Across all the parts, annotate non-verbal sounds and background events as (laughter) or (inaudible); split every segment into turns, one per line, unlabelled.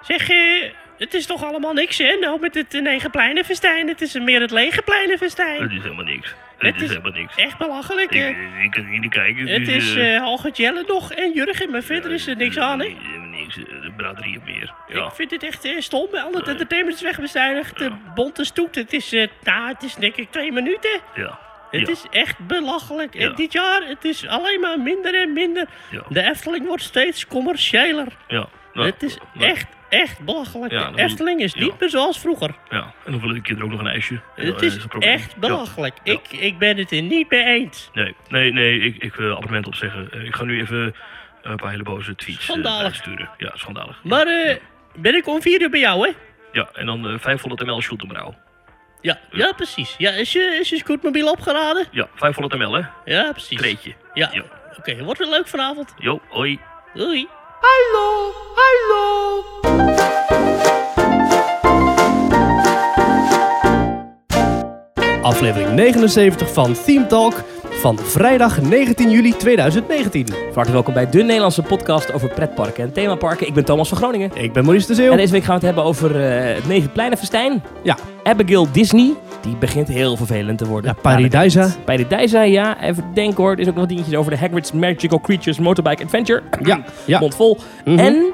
Zeg, eh, het is toch allemaal niks, hè? Nou, met het negen pleinenfestijn. Het is meer het lege pleinenfestijn.
Het is helemaal niks.
Het
Het,
is-
is helemaal niks.
Echt belachelijk,
Ik,
hè?
eh, ik kan hier niet kijken.
Het
dus,
is
eh,
eh Alge Jelle nog en Jurgen, maar verder is er niks aan, hè?
eh, Helemaal niks. eh, De braderie op meer. Ja.
Ik vind het echt eh, stom. Al het entertainment is wegbezuinigd. De bonte stoet. Het is, eh, nou, het is denk ik twee minuten.
Ja.
Het
ja.
is echt belachelijk.
Ja.
En dit jaar, het is alleen maar minder en minder.
Ja.
De Efteling wordt steeds commerciëler.
ja. Nou,
het is
nou,
echt, echt belachelijk.
Ja,
de
dan-
Efteling is
ja.
niet meer zoals vroeger.
Ja. En dan wil ik kinderen ook nog een ijsje. Ja,
het
dat
is
een probleem.
echt
Ja.
belachelijk.
Ja.
Ik, ik ben het er niet mee eens.
Nee, nee, nee. Ik, ik wil abonnement opzeggen. Eh, Ik ga nu even eh, een paar hele boze tweets eh,
Schandalig.
sturen. Ja, schandalig.
Maar eh, ben ik om vier uur bij jou, hè?
Ja, en dan eh, 500 ml schuldenbrouw.
Ja, ja precies. Ja, is je, is je scootmobiel opgeladen?
Ja, 500 ml hè.
Ja, precies.
Treetje.
Ja.
Ja.
Oké, wordt een leuk vanavond.
Jo, hoi.
Doei.
Hallo, hallo.
Aflevering 79 van Theme Talk van vrijdag 19 juli 2019.
Hartelijk welkom bij de Nederlandse podcast over pretparken en themaparken. Ik ben Thomas van Groningen.
Ik ben Maurice de
En
Zeeuw.
deze week gaan we het hebben over eh, het Negenpleinenfestijn.
Ja.
Abigail Disney, die begint heel vervelend te worden.
Ja, Paradijsa.
Ja, dat- Paradijsa, ja. Even denken hoor. Er is ook nog wat dingetjes over de Hagrid's Magical Creatures Motorbike Adventure. (clears throat)
Ja, ja.
Mond vol.
Mhm.
En...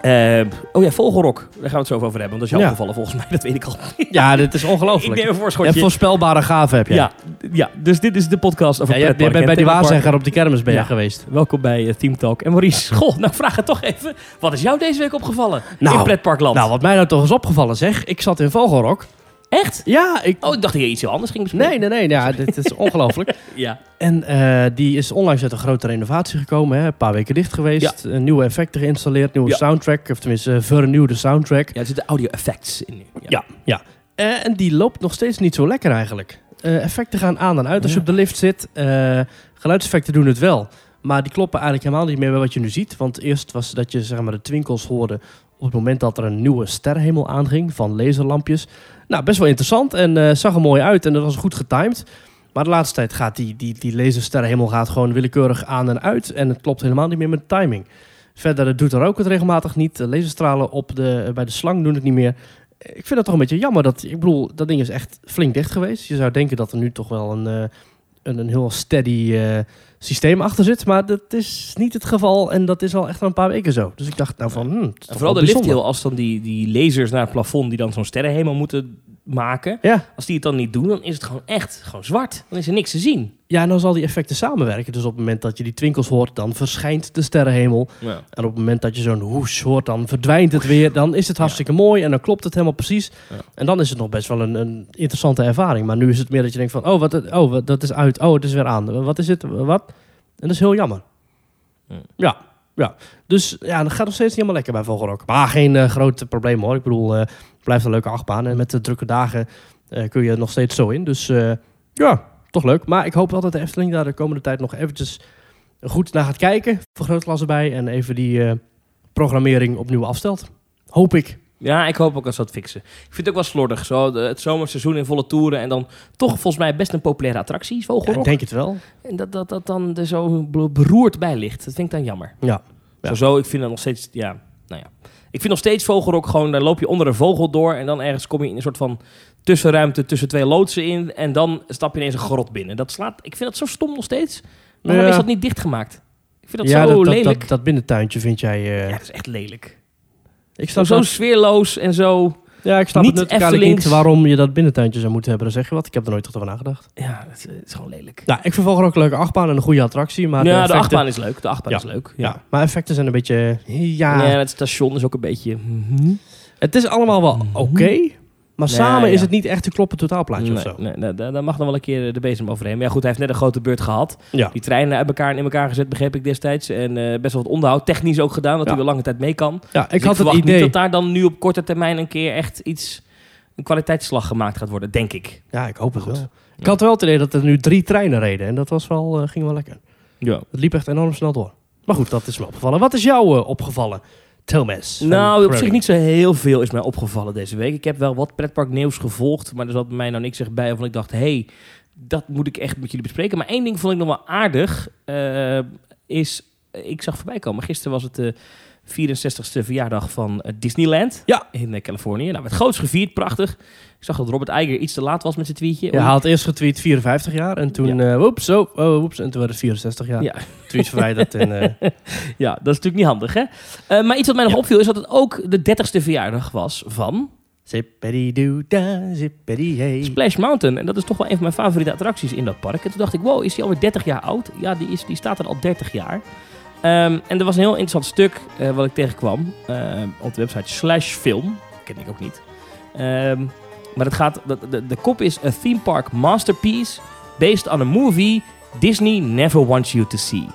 eh, oh ja, Vogelrok. Daar gaan we het zo over hebben, want dat is jouw
Ja.
gevallen volgens mij. (laughs) Dat weet
(laughs)
ik al.
Ja, dit is
ik neem
ongelooflijk.
een
Je
voorschotje.
hebt voorspelbare gaven, heb je.
ja, ja, dus dit is de podcast over
Ja, je, je
pretparken
bent
en
bij die
themaparken.
waarzegger op die kermis ben je
Ja.
geweest.
Welkom bij eh, Team Talk. En Maurice, (laughs) goh, nou vraag het toch even. Wat is jou deze week opgevallen
Nou,
in pretparkland?
Nou, wat mij nou toch is opgevallen zeg. Ik zat in Vogelrok.
Echt?
Ja, ik...
Oh, ik dacht dat je iets heel anders ging bespreken.
Nee, nee, nee. Ja, dit
(laughs)
is ongelooflijk.
Ja.
En eh, die is onlangs uit een grote renovatie gekomen. Hè. Een paar weken dicht geweest. Eh, Nieuwe effecten geïnstalleerd. Nieuwe
Ja.
soundtrack. Of tenminste, eh, vernieuwde soundtrack.
ja, er zitten audio effects in.
Ja, ja. Eh, en die loopt nog steeds niet zo lekker eigenlijk. Eh, effecten gaan aan en uit als je
Ja.
op de lift zit. Eh, geluidseffecten doen het wel. Maar die kloppen eigenlijk helemaal niet meer bij wat je nu ziet. Want eerst was dat je zeg maar, de twinkels hoorde op het moment dat er een nieuwe sterrenhemel aanging van laserlampjes. Nou, best wel interessant en eh, zag er mooi uit en dat was goed getimed. Maar de laatste tijd gaat die, die, die lasersterrenhemel gaat gewoon willekeurig aan en uit. En het klopt helemaal niet meer met de timing. Verder eh, doet er ook het regelmatig niet. De laserstralen op de, bij de slang doen het niet meer ik vind dat toch een beetje jammer. Dat, ik bedoel, dat ding is echt flink dicht geweest. Je zou denken dat er nu toch wel een, eh, een, een heel steady eh, systeem achter zit. Maar dat is niet het geval. En dat is al echt al een paar weken zo. Dus ik dacht nou van... hmm, het is toch
Vooral de
wel
lifthill,
bijzonder.
als dan die, die lasers naar het plafond die dan zo'n sterrenhemel moeten maken.
Ja.
Als die het dan niet doen, dan is het gewoon echt gewoon zwart. Dan is er niks te zien.
ja, en dan zal die effecten samenwerken. Dus op het moment dat je die twinkels hoort, dan verschijnt de sterrenhemel.
Ja.
En op het moment dat je zo'n hoes hoort, dan verdwijnt het weer. Dan is het hartstikke mooi en dan klopt het helemaal precies.
Ja.
En dan is het nog best wel een, een interessante ervaring. Maar nu is het meer dat je denkt van, oh, wat, oh wat, dat is uit. Oh, het is weer aan. Wat is het? Wat? En dat is heel jammer.
Ja.
Ja, ja. Dus ja, dat gaat nog steeds niet helemaal lekker bij Vogelrok. Maar geen eh, groot probleem hoor. Ik bedoel, eh, het blijft een leuke achtbaan. En met de drukke dagen eh, kun je er nog steeds zo in. Dus eh, ja, toch leuk. Maar ik hoop wel dat de Efteling daar de komende tijd nog eventjes goed naar gaat kijken. Vergrootglas erbij en even die eh, programmering opnieuw afstelt. Hoop ik.
Ja, ik hoop ook dat ze dat fixen. Ik vind het ook wel slordig. Zo, de- het zomerseizoen in volle toeren en dan toch volgens mij best een populaire attractie, is
Ja, ik
Vogelrok.
denk het wel.
En dat, dat dat dan er zo beroerd bij ligt. Dat vind ik dan jammer.
Ja. Ja.
Zo, zo, ik vind dat nog steeds, ja, nou ja. Ik vind nog steeds vogelrok gewoon, daar loop je onder een vogel door... en dan ergens kom je in een soort van tussenruimte tussen twee loodsen in... en dan stap je ineens een grot binnen. Dat slaat, ik vind dat zo stom nog steeds. Waarom
Ja.
is dat niet dichtgemaakt? Ik vind dat
ja,
zo
dat, dat,
lelijk.
dat, dat binnentuintje vind jij... eh,
ja, dat is echt lelijk.
ik snap,
Zo
dat-
sfeerloos en zo...
ja, ik snap
niet
het natuurlijk eigenlijk
Eftelings.
niet waarom je dat binnentuintje zou moeten hebben. Dan zeg je wat, ik heb er nooit echt over nagedacht.
Ja, dat is, dat is gewoon lelijk.
Nou, ik vervolg er ook een leuke achtbaan en een goede attractie. Maar
ja, de,
effecten-
achtbaan is leuk. De achtbaan
Ja.
is leuk.
Ja.
Ja.
maar effecten zijn een beetje... eh, Ja,
Ja. het station is ook een beetje... mhm.
het is allemaal wel oké. maar
Ja,
samen is
ja.
het niet echt een kloppend totaalplaatje of zo.
Nee, nee, daar daar mag dan wel een keer de bezem overheen. Maar ja, goed, hij heeft net een grote beurt gehad.
Ja.
Die treinen uit elkaar en in elkaar gezet, begreep ik destijds. En eh, best wel wat onderhoud, technisch ook gedaan, dat
Ja.
hij weer lange tijd mee kan.
ja, ik
Dus
had het
verwacht
idee...
niet dat daar dan nu op korte termijn een keer echt iets, een kwaliteitsslag gemaakt gaat worden, denk ik.
Ja, ik hoop het
Goed.
wel. Ik had wel het idee dat er nu drie treinen reden. En dat was wel, eh, ging wel lekker.
Ja.
Het liep echt enorm snel door. Maar goed, dat is me opgevallen. Wat is jou eh, opgevallen, Thomas? van
Nou, op zich
Groningen?
niet zo heel veel is mij opgevallen deze week. Ik heb wel wat pretparknieuws gevolgd, maar er zat bij mij nou niks echt bij. Of ik dacht, hey, dat moet ik echt met jullie bespreken. Maar één ding vond ik nog wel aardig, eh, is, ik zag voorbij komen. Gisteren was het eh, 64ste verjaardag van eh, Disneyland
Ja.
in eh, Californië. Nou, werd groots gevierd, prachtig. Ik zag dat Robert Eiger iets te laat was met zijn tweetje.
Ja, hij had eerst getweet 54 jaar en toen, eh woeps, zo, oh, woeps, en toen werd het 64 jaar.
Ja.
Tweets verwijderd en
(laughs)
eh,
Ja, dat is natuurlijk niet handig, hè? Eh, maar iets wat mij nog opviel is dat het ook de 30ste verjaardag was van
zippity-doo-da, zippity-hey.
Splash Mountain. En dat is toch wel een van mijn favoriete attracties in dat park. En toen dacht ik, wow, is die alweer 30 jaar oud? Ja, die, is, die staat er al 30 jaar. Ehm, en er was een heel interessant stuk eh, wat ik tegenkwam ehm, op de website Slash Film. Ken ik ook niet. Ehm, maar het gaat, de, de, de kop is A Theme Park Masterpiece based on a movie Disney never wants you to see.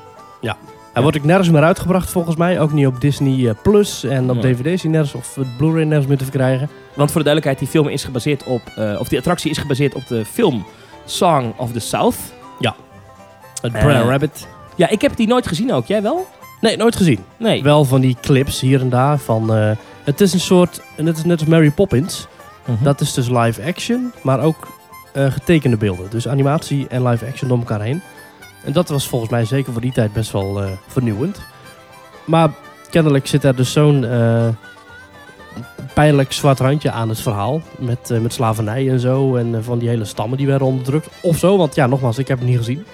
Hij wordt ook nergens meer uitgebracht volgens mij, ook niet op Disney eh, Plus en op
Ja.
DVD is hij nergens of het Blu-ray nergens meer te verkrijgen.
Want voor de duidelijkheid, die film is gebaseerd op, eh, of die attractie is gebaseerd op de film Song of the South.
Het
Eh.
Brad Rabbit.
Ja, ik heb die nooit gezien ook. Jij wel?
Nee, nooit gezien.
Nee.
Wel van die clips hier en daar van, eh, het is een soort, en het is net als Mary Poppins,
Hm? Mhm.
dat is dus live action, maar ook eh, getekende beelden. Dus animatie en live action door elkaar heen. En dat was volgens mij zeker voor die tijd best wel eh, vernieuwend. Maar kennelijk zit er dus zo'n eh, pijnlijk zwart randje aan het verhaal. Met, eh, met slavernij en zo. En eh, van die hele stammen die werden onderdrukt. Of zo, want ja, nogmaals, ik heb het niet gezien.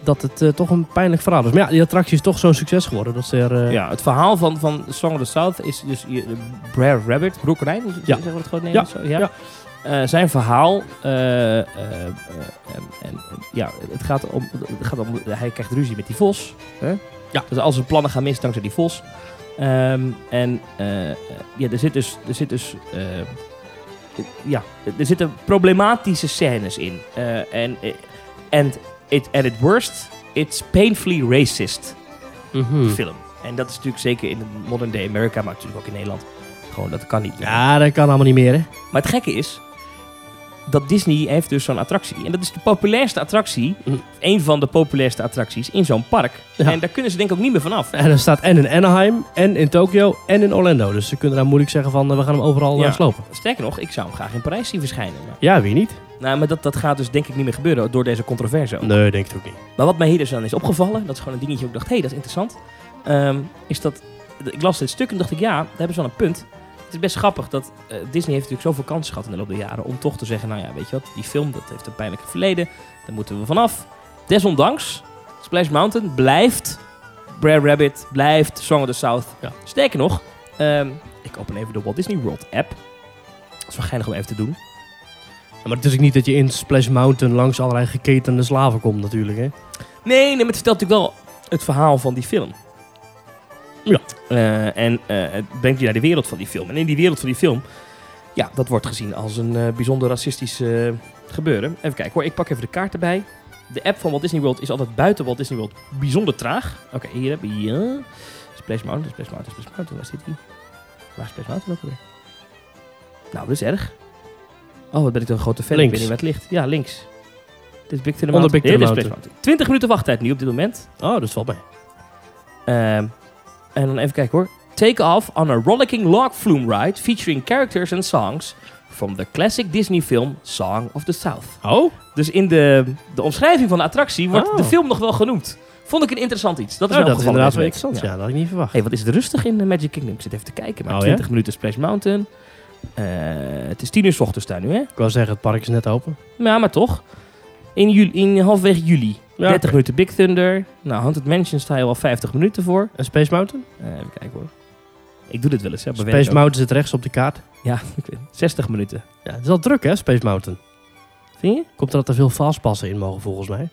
Dat het eh, toch een pijnlijk verhaal is. Maar ja, die attractie is toch zo'n succes geworden. Dat ze er, eh,
Ja, het verhaal van, van Song of the South is dus je- Brer Rabbit, Broek Rijn, ja.
Ja.
zeggen we het gewoon Nederlands? zo? ja.
ja.
Eh, zijn verhaal, eh, eh, eh, en, en, ja, het gaat om, het gaat om, hij krijgt ruzie met die vos. Hè?
Ja.
Dus al zijn plannen gaan mis dankzij die vos. Ehm, en eh, eh, ja, er zit dus, er zit dus eh, ja, er zitten problematische scènes in. Eh, En eh, and it, at its worst, it's painfully racist
mhm.
film. En dat is natuurlijk zeker in de modern day America, maar natuurlijk ook in Nederland. Gewoon, dat kan niet.
ja, dat kan allemaal niet meer, hè?
Maar het gekke is dat Disney heeft dus zo'n attractie. En dat is de populairste attractie,
Mhm.
een van de populairste attracties in zo'n park.
Ja.
En daar kunnen ze denk ik ook niet meer vanaf.
En er staat en in Anaheim, en in Tokio, en in Orlando. Dus ze kunnen daar moeilijk zeggen van, eh, we gaan hem overal
Ja.
eh, slopen.
Sterker nog, ik zou hem graag in Parijs zien verschijnen. Maar,
Ja, wie niet?
nou, maar dat, dat gaat dus denk ik niet meer gebeuren door deze controverse. ook.
Nee, denk ik ook niet.
Maar wat mij hier dus aan is opgevallen, dat is gewoon een dingetje. Ook dacht, hé, hey, dat is interessant. ehm, is dat ik las dit stuk en dacht ik, ja, daar hebben ze wel een punt. Het is best grappig dat eh, Disney heeft natuurlijk zoveel kansen gehad in de loop der jaren om toch te zeggen, nou ja, weet je wat, die film dat heeft een pijnlijke verleden, daar moeten we vanaf. Desondanks, Splash Mountain blijft Brer Rabbit, blijft Song of the South.
Ja.
Sterker nog, ehm, ik open even de Walt Disney World app. Dat is wel geinig om even te doen.
Maar het is ook niet dat je in Splash Mountain langs allerlei geketende slaven komt natuurlijk, hè?
Nee, nee, maar het vertelt natuurlijk wel het verhaal van die film.
Ja.
Eh, en eh, het brengt je naar de wereld van die film. En in die wereld van die film, ja, dat wordt gezien als een eh, bijzonder racistisch eh, gebeuren. Even kijken hoor, ik pak even de kaart erbij. De app van Walt Disney World is altijd buiten Walt Disney World bijzonder traag. Oké, hier heb je... ja. Splash Mountain, Splash Mountain, Splash Mountain. Waar zit die? Waar is Splash Mountain ook alweer? Nou, dat is erg. Oh, wat ben ik toch een grote fan.
Links.
Ik weet niet waar het ligt. Ja, links. Dit is Big Thunder
Onder
Mountain.
Big Thunder
Dit is Splash Mountain. 20 minuten wachttijd nu op dit moment.
Oh, dat valt mee.
Ehm, en dan even kijken hoor. Take off on a rollicking log flume ride featuring characters and songs from the classic Disney film Song of the South.
Oh?
Dus in de, de omschrijving van de attractie wordt
Oh.
de film nog wel genoemd. Vond ik een interessant iets. Dat is,
nou,
wel
dat is
opgevallen
inderdaad
deze
wel
week.
interessant.
Ja.
Ja, dat had ik niet verwacht.
Hey, wat is het rustig in eh, Magic Kingdom? Ik zit even te kijken. Maar
Oh, ja?
20 minuten Splash Mountain. Eh, het is 10 uur 's ochtends daar nu, hè?
Ik wou zeggen, het park is net open.
Ja, maar toch. In, juli, in halverwege juli.
Ja.
30 minuten Big Thunder. Nou, Haunted Mansion sta je al 50 minuten voor.
En Space Mountain?
Eh, even kijken hoor. Ik doe dit wel eens. Hè, bij
Space
werk ook.
Mountain zit rechts op de kaart.
Ja, ik weet het. 60 minuten.
Ja, het is al druk, hè, Space Mountain.
Vind je?
Komt dat er veel fastpassen in mogen, volgens mij.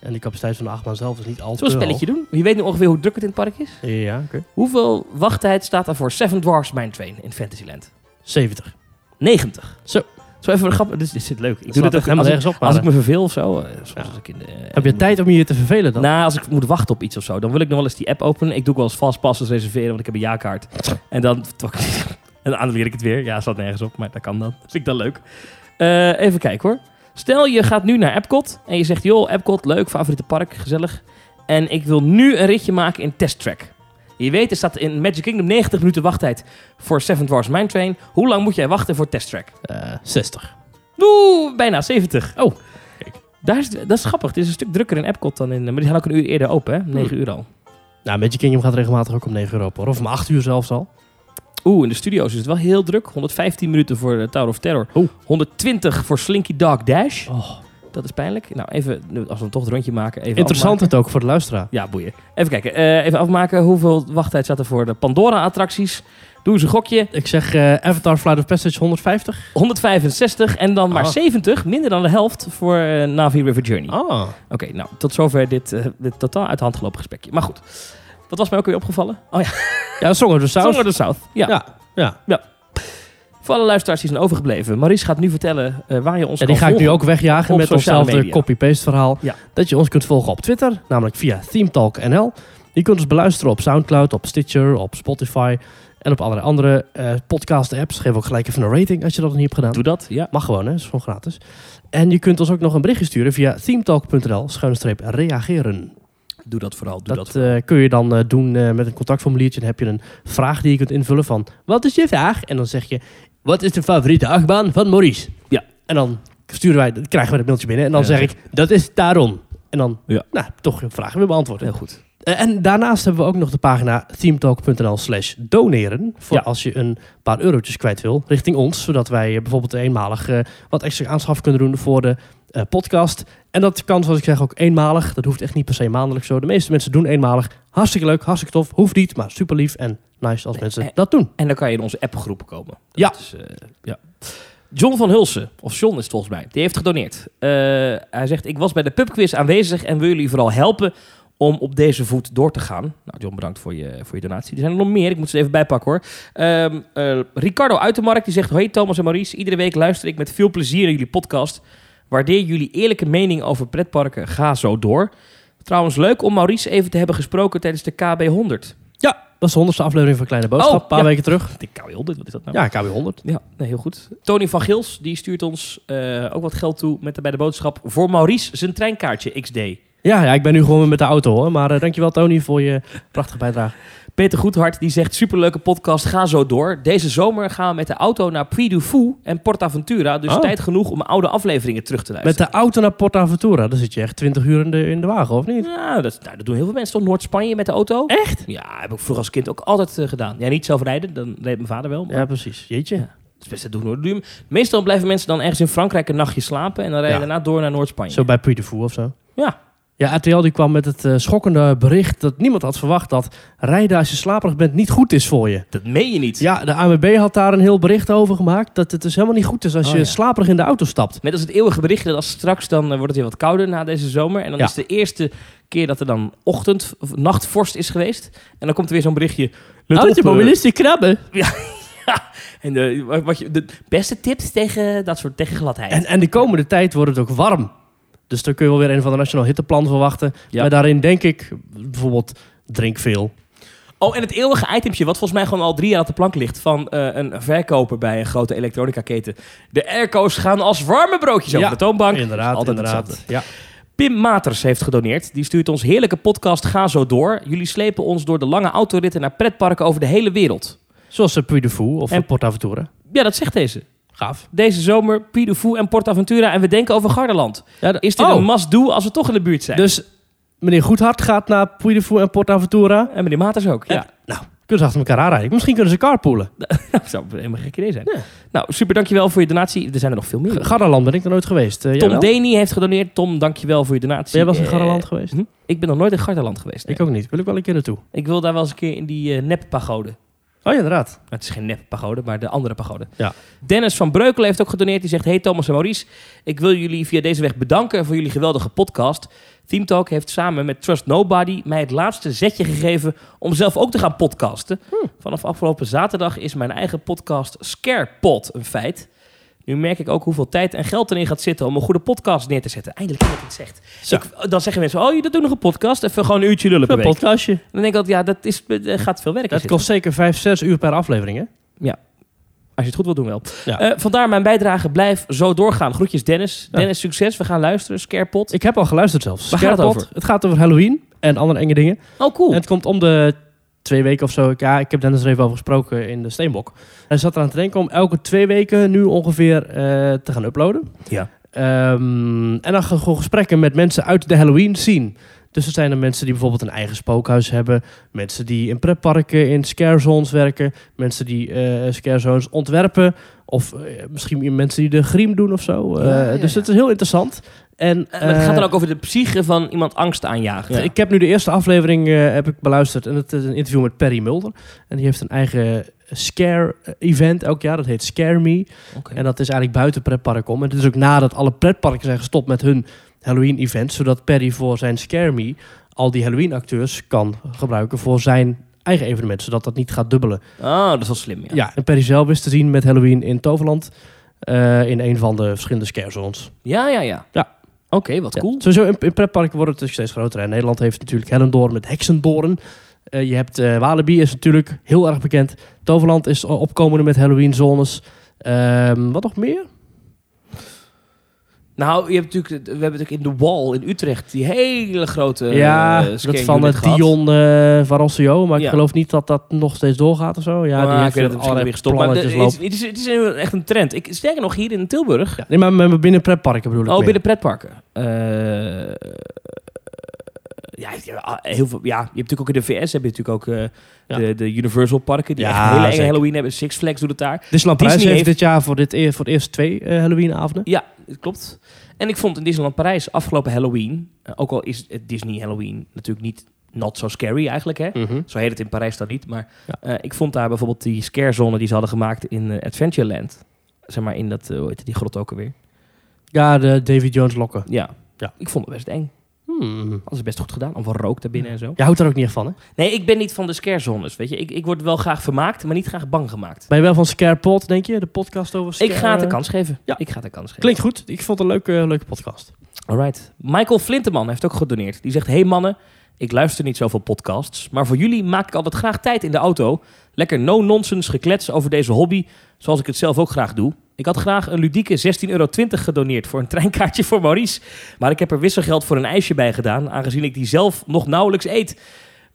En die capaciteit van de achtbaan zelf is niet al te
Zullen we een spelletje doen? Je weet nu ongeveer hoe druk het in het park is.
hoog. Ja, oké.
Hoeveel wachttijd staat er voor Seven Dwarfs Mine Train in Fantasyland?
70.
90.
Zo.
Zo even een grap. Dit is, dit is leuk. Ik
Dat
doe dit
slaat
ook
echt helemaal
helemaal als,
nergens op.
ik, Ah, als ik
maar,
me verveel of zo. eh, soms
Ja.
als ik in de,
eh, Heb je tijd om je hier te vervelen dan?
Nou, als ik moet wachten op iets of zo, dan wil ik nog wel eens die app openen. Ik doe ook wel eens vastpassers reserveren, want ik heb een jaarkaart. En dan, en dan annuleer ik (laughs) het weer. Ja, staat nergens op, maar dat kan dan. Vind ik dat leuk. Eh, even kijken hoor. Stel, je gaat nu naar Epcot en je zegt, joh, Epcot, leuk, favoriete park, gezellig. En ik wil nu een ritje maken in Test Track. Je weet, er staat in Magic Kingdom 90 minuten wachttijd voor Seven Dwarfs Mine Train. Hoe lang moet jij wachten voor Test Track?
Eh, 60.
Oeh, bijna 70.
Oh.
Daar is, dat is grappig. Het is een stuk drukker in Epcot dan in... Maar die gaan ook een uur eerder open, hè? 9 uur al.
Nou, Magic Kingdom gaat regelmatig ook om 9 euro per, of om 8 uur zelfs al.
Oeh, in de studio's is het wel heel druk. 115 minuten voor eh, Tower of Terror.
Oeh.
120 voor Slinky Dog Dash. Dat is pijnlijk. Nou, even, nu, als we toch het rondje maken. Even
Interessant
afmaken.
het ook voor de luisteraar.
Ja, boeien. Even kijken. eh, even afmaken. Hoeveel wachttijd zat er voor de Pandora-attracties? Doe eens een gokje.
Ik zeg eh, Avatar Flight of Passage 150.
165 en dan maar
Ah.
70. Minder dan de helft voor eh, Navi River Journey.
Ah.
Oké, nou, tot zover dit, eh, dit totaal uit de hand gelopen gesprekje. Maar goed, wat was mij ook weer opgevallen? Oh ja,
Ja, Song of the South.
Song of the South. Ja.
Ja, ja.
Voor alle luisteraars die zijn overgebleven. Maurice gaat nu vertellen eh, waar je ons
Ja, die
kan
ga ik nu
volgen.
ook wegjagen
op
met
sociale
onszelfde
media.
copy-paste verhaal.
Ja.
Dat je ons kunt volgen op Twitter, namelijk via ThemeTalk.nl. Je kunt ons beluisteren op Soundcloud, op Stitcher, op Spotify en op allerlei andere eh, podcast-apps. Geef ook gelijk even een rating als je dat nog niet hebt gedaan.
Doe dat, ja.
Mag gewoon, hè? is gewoon gratis. En je kunt ons ook nog een berichtje sturen via themetalk.nl schuinstreep reageren.
Doe dat vooral, doe
Dat,
dat.
eh, kun je dan eh, doen eh, met een contactformuliertje. Dan heb je een vraag die je kunt invullen van... Wat is je vraag? En dan zeg je... Wat is de favoriete achtbaan van Maurice?
Ja.
En dan sturen wij, dan krijgen we dat mailtje binnen. En dan
Ja.
zeg ik... Dat is daarom. En dan
Ja.
nou, toch een vraag weer beantwoord.
Heel goed.
Eh, en daarnaast hebben we ook nog de pagina themetalk.nl slash doneren. Voor
Ja.
als je een paar eurotjes kwijt wil richting ons. Zodat wij eh, bijvoorbeeld eenmalig eh, wat extra aanschaf kunnen doen voor de eh, podcast. En dat kan, zoals ik zeg, ook eenmalig. Dat hoeft echt niet per se maandelijks zo. De meeste mensen doen eenmalig. Hartstikke leuk, hartstikke tof. Hoeft niet, maar super lief en nice als mensen
eh,
dat doen.
En dan kan je in onze appgroep komen. Dat
Ja.
is, eh, ja. John van Hulsen, of John is het volgens mij, die heeft gedoneerd. Eh, hij zegt, ik was bij de pubquiz aanwezig en wil jullie vooral helpen om op deze voet door te gaan. Nou, John, bedankt voor je, voor je donatie. Er zijn er nog meer, ik moet ze er even bijpakken hoor. Ehm, eh, Ricardo Uitermark, die zegt, hoi Thomas en Maurice. Iedere week luister ik met veel plezier naar jullie podcast. Waardeer jullie eerlijke mening over pretparken. Ga zo door. Trouwens, leuk om Maurice even te hebben gesproken tijdens de KB100.
Ja, dat is de honderdste aflevering van Kleine Boodschap.
Oh,
een paar
ja.
weken terug.
De KB100, wat is dat nou?
Ja, KW100.
Ja, nee, heel goed. Tony van Gils die stuurt ons eh, ook wat geld toe met de, bij de boodschap voor Maurice zijn treinkaartje XD.
Ja, ja, ik ben nu gewoon weer met de auto hoor. Maar eh, dankjewel Tony voor je prachtige bijdrage.
Peter Goedhart die zegt superleuke podcast, ga zo door. Deze zomer gaan we met de auto naar Puy du Fou en Portaventura, dus
Oh.
tijd genoeg om oude afleveringen terug te
Met
luisteren.
de auto naar Porta Ventura, dan zit je echt 20 uur in de, in de wagen, of niet?
Nou, dat, nou, dat doen heel veel mensen toch, Noord-Spanje met de auto? Echt? Ja, heb ik vroeger als kind ook altijd eh, gedaan. Ja, niet zelf rijden, dan reed mijn vader wel. Maar
Ja, precies. Jeetje.
het is best te doen hoor. Duur- Meestal blijven mensen dan ergens in Frankrijk een nachtje slapen en dan rijden
Ja.
daarna door naar Noord-Spanje.
Zo bij Puy de Fou of zo.
Ja.
Ja, RTL die kwam met het eh, schokkende bericht dat niemand had verwacht dat rijden als je slaperig bent niet goed is voor je.
Dat meen je niet.
Ja, de ANWB had daar een heel bericht over gemaakt dat het dus helemaal niet goed is als
Oh,
je
ja.
slaperig in de auto stapt.
Net als het eeuwige bericht dat als straks dan eh, wordt het weer wat kouder na deze zomer. En dan
Ja.
is de eerste keer dat er dan ochtend of nachtvorst is geweest. En dan komt er weer zo'n berichtje. Let op, eh,
krabben.
en de, wat- wat je, de beste tips tegen dat soort tegen gladheid.
En, en de komende tijd wordt het ook warm. Dus dan kun je wel weer een van de Nationaal Hitteplan verwachten.
Ja.
Maar daarin denk ik bijvoorbeeld drink veel.
Oh, en het eeuwige itempje, wat volgens mij gewoon al drie jaar op de plank ligt. van eh, een verkoper bij een grote elektronica-keten. De airco's gaan als warme broodjes over
Ja,
de toonbank.
Inderdaad,
Altijd
inderdaad.
hetzelfde.
Ja.
Pim Maters heeft gedoneerd. Die stuurt ons heerlijke podcast Ga Zo Door. Jullie slepen ons door de lange autoritten naar pretparken over de hele wereld.
Zoals eh, Puy de Fou of
En-
en... Portaventura.
Ja, dat zegt deze.
Gaaf.
Deze zomer Puy de Fou en Portaventura en we denken over Gardaland. Is dit
Oh.
een must-do als we toch in de buurt zijn?
Dus meneer Goedhart gaat naar Puy de Fou en Portaventura.
En meneer Maters ook, ja.
Nou, kunnen ze achter elkaar aanrijden. Misschien kunnen ze carpoolen.
(laughs) Dat zou helemaal een gek idee zijn. Nou, super, dankjewel voor je donatie. Er zijn er nog veel meer.
G- Gardaland ben ik er nooit geweest. Eh, jij
Tom
wel?
Deni heeft gedoneerd. Tom, dankjewel voor je donatie.
Jij was in
Eh,
Gardaland geweest?
hm? Ik ben nog nooit in Gardaland geweest. nee.
Ik ook niet. Wil ik wel een keer naartoe.
Ik wil daar wel eens een keer in die eh neppagode.
Oh ja, inderdaad.
Nou, het is geen neppagode, maar de andere pagode.
Ja.
Dennis van Breukelen heeft ook gedoneerd. Die zegt, hey Thomas en Maurice, ik wil jullie via deze weg bedanken voor jullie geweldige podcast. Theme Talk heeft samen met Trust Nobody mij het laatste zetje gegeven om zelf ook te gaan podcasten.
Hm.
Vanaf afgelopen zaterdag is mijn eigen podcast Scarepod een feit. Nu merk ik ook hoeveel tijd en geld erin gaat zitten om een goede podcast neer te zetten. Eindelijk iemand die het zegt.
Zo.
Ik- dan zeggen mensen, oh, je doet nog een podcast. Even gewoon een uurtje lullen per
Een
week.
podcastje.
Dan denk ik altijd, ja, dat is, eh, gaat veel werk in
Dat
zitten.
kost zeker 5, 6 uur per aflevering, hè?
Als je het goed wil doen wel.
Ja.
Eh, vandaar mijn bijdrage. Blijf zo doorgaan. Groetjes Dennis.
Ja.
Dennis, succes. We gaan luisteren. Scarepot.
Ik heb al geluisterd zelfs.
Waar gaat het
Scarepot.
over?
Het gaat over Halloween en andere enge dingen.
Oh, cool.
En het komt om de twee weken of zo. Ik- Ja, ik heb Dennis er even over gesproken in de Steenbok. Hij zat eraan te denken om elke twee weken nu ongeveer eh, te gaan uploaden.
Ja.
Ehm, en dan gaan we gewoon gesprekken met mensen uit de Halloween scene. Dus er zijn er mensen die bijvoorbeeld een eigen spookhuis hebben. Mensen die in pretparken, in scare zones werken. Mensen die eh scare zones ontwerpen. Of eh, misschien mensen die de griem doen of zo. Eh,
Ja, ja,
dus
ja.
het is heel interessant. En,
Eh, maar het gaat
eh,
dan ook over de psyche van iemand angst aanjagen.
ik heb nu de eerste aflevering eh, heb ik beluisterd. En het is een interview met Perry Mulder. En die heeft een eigen eh, scare-event elk jaar. Dat heet Scare Me.
Oké.
En dat is eigenlijk buiten pretpark om. En het is ook nadat alle pretparken zijn gestopt met hun Halloween-event. Zodat Perry voor zijn Scare Me al die Halloween-acteurs kan gebruiken voor zijn eigen evenement. Zodat dat niet gaat dubbelen.
Ah, dat is wel slim, ja.
Ja, en Perry zelf is te zien met Halloween in Toverland. eh, in een van de verschillende scare zones.
Ja, ja, ja.
Ja.
Oké, wat cool.
Ja, sowieso in, in pretparken wordt het natuurlijk steeds groter. En Nederland heeft natuurlijk Hellendoorn met Heksendoorn. Eh, je hebt eh, Walibi is natuurlijk heel erg bekend. Toverland is o- opkomende met Halloween zones. Ehm, wat nog meer?
Nou, je hebt natuurlijk, we hebben natuurlijk in de Wall in Utrecht die hele grote
ja,
eh, scan
dat van
unit
het
gehad.
Dion eh Varosio. Maar
Ja.
ik geloof niet dat dat nog steeds doorgaat of zo. Ja,
Ja,
die
die
heeft
ik weet dat het
allerlei
weer gestopt. Maar de-
plannetjes
het, is,
lopen.
het, is, het is een- echt een trend. Ik, sterker nog, hier in Tilburg.
Ja, nee, maar- maar binnen pretparken bedoel ik
oh,
meer.
binnen pretparken. Eh, eh, ja, ja, heel veel, ja, je hebt natuurlijk ook in de VS heb je natuurlijk ook eh,
Ja.
de, de Universal parken. Die
Ja,
echt hele enge
zeker.
Halloween hebben. Six Flags doet het daar.
Disneyland Parijs
Disney
Dus heeft,
heeft-
dit jaar voor, dit, eer- voor het eerst twee eh, Halloween-avonden.
Ja, dat klopt. En ik vond in Disneyland Parijs afgelopen Halloween, eh, ook al is het Disney Halloween natuurlijk niet not so scary eigenlijk hè. Zo heet het in Parijs dan niet. Maar
Ja.
eh, ik vond daar bijvoorbeeld die scarezone die ze hadden gemaakt in eh, Adventureland. Zeg maar in dat, eh, hoe heet die grot ook alweer?
Ja, de David Jones lokken.
Ja.
Ja.
Ik vond het best eng.
Hmm.
Dat is best goed gedaan. Allemaal rook daar binnen en zo.
Jij houdt daar ook niet echt van, hè?
Nee, ik ben niet van de scarezones, weet je. Ik, ik word wel graag vermaakt, maar niet graag bang gemaakt.
Ben je wel van Scarepod, denk je? De podcast over Scare...
Ik ga het een kans geven.
Ja.
Ik ga het een kans geven.
Klinkt goed. Ik vond het een leuke, eh, leuke podcast.
Alright. Michael Flinteman heeft ook gedoneerd. Die zegt: Hey mannen, ik luister niet zoveel podcasts. Maar voor jullie maak ik altijd graag tijd in de auto. Lekker no-nonsense geklets over deze hobby. Zoals ik het zelf ook graag doe. Ik had graag een ludieke 16,20 euro gedoneerd voor een (laughs) treinkaartje voor Maurice. Maar ik heb er wisselgeld voor een ijsje bij gedaan. Aangezien ik die zelf nog nauwelijks eet.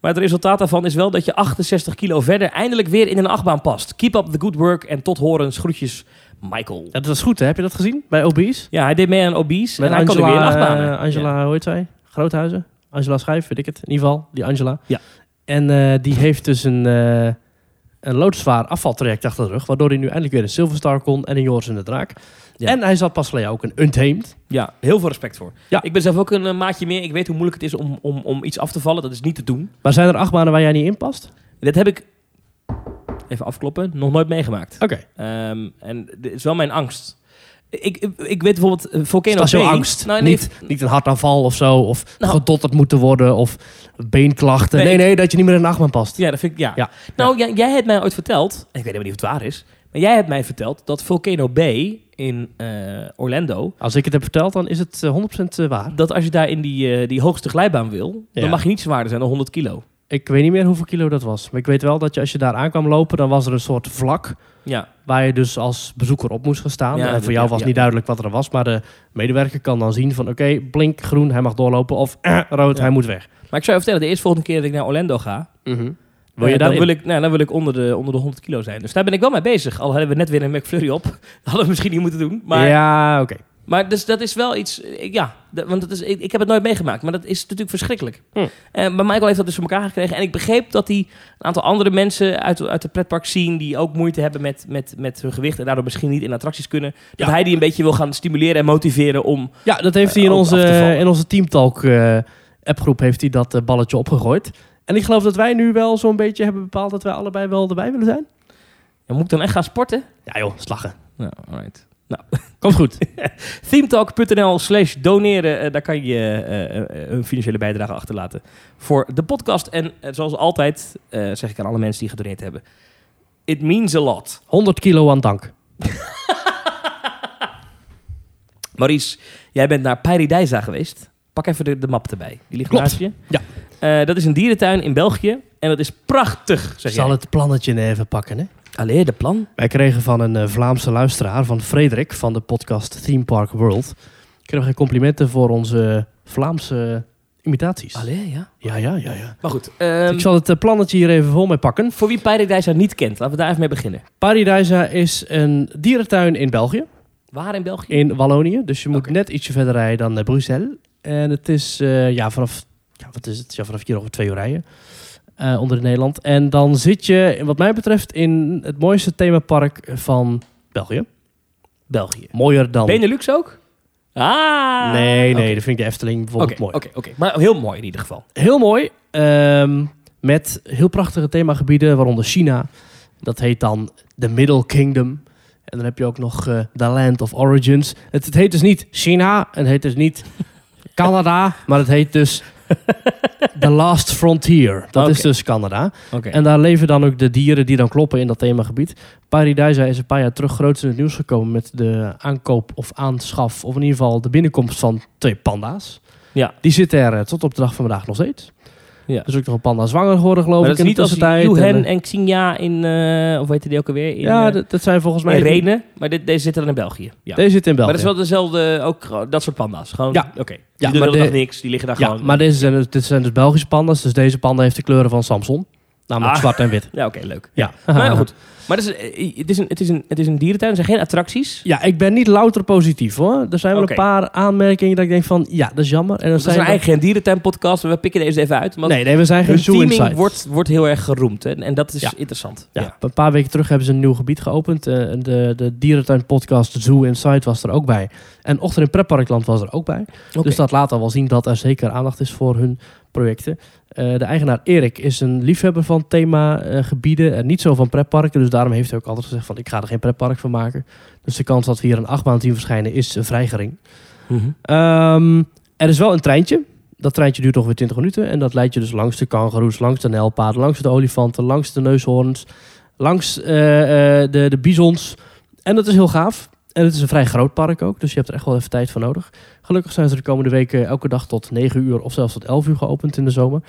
Maar het resultaat daarvan is wel dat je 68 kilo verder eindelijk weer in een achtbaan past. Keep up the good work en tot horens. Groetjes, Michael.
Ja, dat was goed, hè? Heb je dat gezien? Bij Obese?
Ja, hij deed mee aan obese.
Met
en hij kan
Angela,
er weer in achtbanen.
eh, Angela, hoe heet zij? Groothuizen? Angela Schijf, weet ik het. In ieder geval, die Angela.
Ja.
En eh, die heeft dus een, eh, een loodzwaar afvaltraject achter de rug. Waardoor hij nu eindelijk weer een Silver Star kon en een Joris in de Draak.
Ja.
En hij zat pas geleden ook een Untamed.
Ja, heel veel respect voor.
Ja.
Ik ben zelf ook een eh, maatje meer. Ik weet hoe moeilijk het is om, om, om iets af te vallen. Dat is niet te doen.
Maar zijn er achtbanen waar jij niet in past?
Dat heb ik, even afkloppen, nog nooit meegemaakt.
Oké.
Ehm, en dit is wel mijn angst. Ik, ik, ik weet bijvoorbeeld, eh,
Is
Volcano
dat jouw
Bay-
angst?
Nou, nee,
niet, niet een hartaanval of zo. Of
Nou.
gedotterd moeten worden. Of beenklachten.
Nee,
Nee,
ik-
nee, dat je niet meer in een achtbaan past.
Ja, dat vind ik, ja.
Ja.
Nou, jij- jij hebt mij ooit verteld, en ik weet helemaal niet of het waar is, maar jij hebt mij verteld dat Volcano Bay in eh, Orlando,
Als ik het heb verteld, dan is het eh, 100% waar.
dat als je daar in die, eh, die hoogste glijbaan wil,
Ja.
dan mag je niet zwaarder zijn dan 100 kilo.
Ik weet niet meer hoeveel kilo dat was. Maar ik weet wel dat je als je daar aankwam lopen, dan was er een soort vlak.
Ja,
Waar je dus als bezoeker op moest gaan staan.
Ja,
en
dat-
voor jou
ja,
was
ja.
niet duidelijk wat er was. Maar de medewerker kan dan zien van oké, blink groen, hij mag doorlopen. Of (clears throat) eh, rood,
Ja.
hij moet weg.
maar ik zou je vertellen, de eerste volgende keer dat ik naar Orlando ga,
Wil je
Eh,
daar
dan, wil ik, nou, dan wil ik onder de, onder de 100 kilo zijn. Dus daar ben ik wel mee bezig. Al hebben we net weer een McFlurry op. (laughs) Dat hadden we misschien niet moeten doen. Maar,
Ja, oké.
maar dus, dat is wel iets... eh, Ja, dat- want dat is, ik, ik heb het nooit meegemaakt. Maar dat is natuurlijk verschrikkelijk.
Hm.
Eh, maar Michael heeft dat dus voor elkaar gekregen. En ik begreep dat hij een aantal andere mensen uit, uit de pretpark zien... die ook moeite hebben met, met, met hun gewicht... en daardoor misschien niet in attracties kunnen. Dat
Ja.
hij die een beetje wil gaan stimuleren en motiveren om...
Ja, dat heeft hij
Eh,
in
ook
onze,
af te vallen.
in onze Teamtalk eh, appgroep heeft hij dat eh, balletje opgegooid. En ik geloof dat wij nu wel zo'n beetje hebben bepaald dat wij allebei wel erbij willen zijn.
Ja, moet ik dan echt gaan sporten?
Ja joh, slagen.
Ja, alright.
Nou, (laughs) Komt goed.
(laughs) Themetalk.nl slash doneren. Eh, daar kan je eh, eh, een financiële bijdrage achterlaten voor de podcast. En eh, zoals altijd eh, zeg ik aan alle mensen die gedoneerd hebben. It means a lot.
100 kilo aan dank.
Maurice, jij bent naar Paradijsa geweest. Pak even de, de map erbij. Die ligt
Klopt.
naast je. Eh, dat is een dierentuin in België. En dat is prachtig, zeg
Zal
jij.
het plannetje nou even pakken, hè?
Allee, de plan.
Wij kregen van een eh, Vlaamse luisteraar, van Frederik, van de podcast Theme Park World, kregen we complimenten voor onze Vlaamse imitaties.
Allee, ja.
Ja, ja, ja. ja.
Maar goed, ehm,
Ik zal het eh, plannetje hier even vol mee pakken.
voor wie Paradijsa niet kent, laten we daar even mee beginnen.
Paradijsa is een dierentuin in België,
Waar in België?
in Wallonië. Dus je moet
Oké.
net ietsje verder rijden dan eh, Bruxelles. En het is eh, ja, vanaf ja, wat is het? Ja, vanaf hier over twee uur rijden. eh, onder in Nederland. En dan zit je, wat mij betreft, in het mooiste themapark van België.
België.
Mooier dan.
Benelux ook? Ah!
Nee, nee,
Oké.
dat vind ik de Efteling
Oké,
bijvoorbeeld mooi.
oké, oké. Maar heel mooi in ieder geval.
Heel mooi. ehm, met heel prachtige themagebieden, waaronder China. Dat heet dan The Middle Kingdom. En dan heb je ook nog eh The Land of Origins. Het, het heet dus niet China en het heet dus niet Canada, maar het heet dus The Last Frontier. Dat is
Oké.
dus Canada.
Oké.
En daar leven dan ook de dieren die dan kloppen in dat themagebied. Paradijsa is een paar jaar terug groot in het nieuws gekomen met de aankoop of aanschaf, of in ieder geval de binnenkomst van twee panda's.
Ja.
Die zitten er eh, tot op de dag van vandaag nog steeds.
Ja.
Er is ook nog een panda zwanger geworden, geloof
Maar
ik.
dat is niet
in de
als
tussentijd.
Yu
En,
Hen
eh,
en Xinja in, eh of weet je die ook alweer? In,
ja,
eh,
dat, dat zijn volgens mij...
in Renen. Maar dit, deze zitten dan in België. Ja.
Deze zit in België.
Maar dat is wel dezelfde, ook gewoon dat soort panda's. Gewoon,
Ja.
oké.
Ja,
Die doen
maar
de
de-
hele dag niks, die liggen daar
ja,
gewoon.
maar deze zijn, dus- dit zijn dus Belgische panda's. Dus deze panda heeft de kleuren van Samson. Namelijk
Ah.
zwart en wit.
Ja, oké, leuk. (laughs)
Ja.
Maar ja, goed. Maar het is, eh, het, is een, het, is een, het is een dierentuin, er zijn geen attracties.
Ja, ik ben niet louter positief hoor. Er zijn wel
Oké.
een paar aanmerkingen dat ik denk van... Ja, dat is jammer. En dan
Het is
zijn
eigenlijk geen dierentuin podcast, maar we pikken deze even uit. Want
Nee, nee, we zijn geen
hun
zoo
teaming
inside.
wordt, wordt heel erg geroemd hè, en dat is
Ja.
interessant.
Ja, Een paar weken terug hebben ze een nieuw gebied geopend. Eh, de, de dierentuin podcast Zoo Inside was er ook bij. En Ochtend in Pretparkland was er ook bij.
Oké.
Dus dat laat al wel zien dat er zeker aandacht is voor hun projecten. Eh, de eigenaar Erik is een liefhebber van themagebieden en niet zo van pretparken. Dus daarom heeft hij ook altijd gezegd van ik ga er geen pretpark van maken. Dus de kans dat we hier een achtbaan zien verschijnen is eh, vrij gering.
Mhm.
Ehm, er is wel een treintje. Dat treintje duurt ongeveer 20 minuten. En dat leidt je dus langs de kangoeroes, langs de nijlpaarden, langs de olifanten, langs de neushoorns, langs eh, eh, de, de bisons. En dat is heel gaaf. En het is een vrij groot park ook, dus je hebt er echt wel even tijd voor nodig. Gelukkig zijn ze de komende weken elke dag tot 9 uur of zelfs tot 11 uur geopend in de zomer.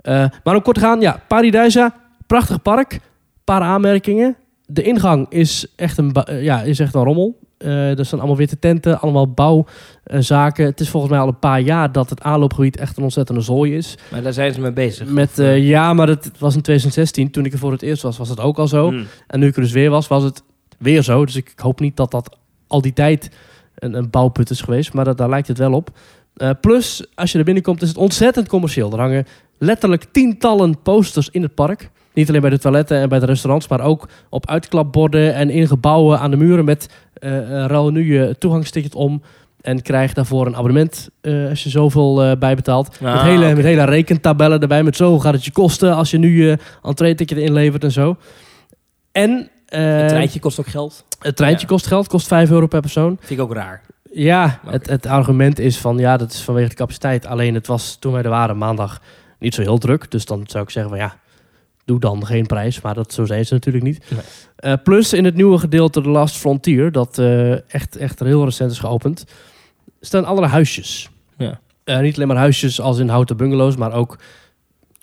Eh, maar om kort te gaan, ja, Paradijsa, prachtig park. paar aanmerkingen. De ingang is echt een, ba- eh, ja, is echt een rommel. Eh er staan allemaal witte tenten, allemaal bouw eh, zaken. Het is volgens mij al een paar jaar dat het aanloopgebied echt een ontzettende zooi is.
Maar daar zijn ze mee bezig.
Met, eh, ja, maar het was in 2016. Toen ik er voor het eerst was, was het ook al zo.
Mm.
En nu ik er dus weer was, was het weer zo. Dus ik hoop niet dat dat al die tijd een, een bouwput is geweest. Maar dat, daar lijkt het wel op. Eh, plus, als je er binnenkomt, is het ontzettend commercieel. Er hangen letterlijk tientallen posters in het park. Niet alleen bij de toiletten en bij de restaurants, maar ook op uitklapborden en in gebouwen aan de muren met eh eh, ruil nu je toegangsticket om en krijg daarvoor een abonnement eh, als je zoveel eh, bijbetaalt.
Ah,
met, hele,
oké.
met hele rekentabellen erbij, met zo gaat het je kosten als je nu eh, je entree-ticket inlevert en zo. En eh,
Het treintje kost ook geld.
het treintje
Ja.
kost geld, kost 5 euro per persoon.
Vind ik ook raar.
Ja,
Oké.
het, het argument is van ja, dat is vanwege de capaciteit. Alleen het was toen wij er waren maandag niet zo heel druk. Dus dan zou ik zeggen van ja, doe dan geen prijs. Maar dat zo zijn ze natuurlijk niet.
Nee.
Eh, plus in het nieuwe gedeelte, de Last Frontier, dat eh, echt, echt heel recent is geopend, staan allerlei huisjes.
Ja.
Eh, niet alleen maar huisjes als in houten bungalows, maar ook,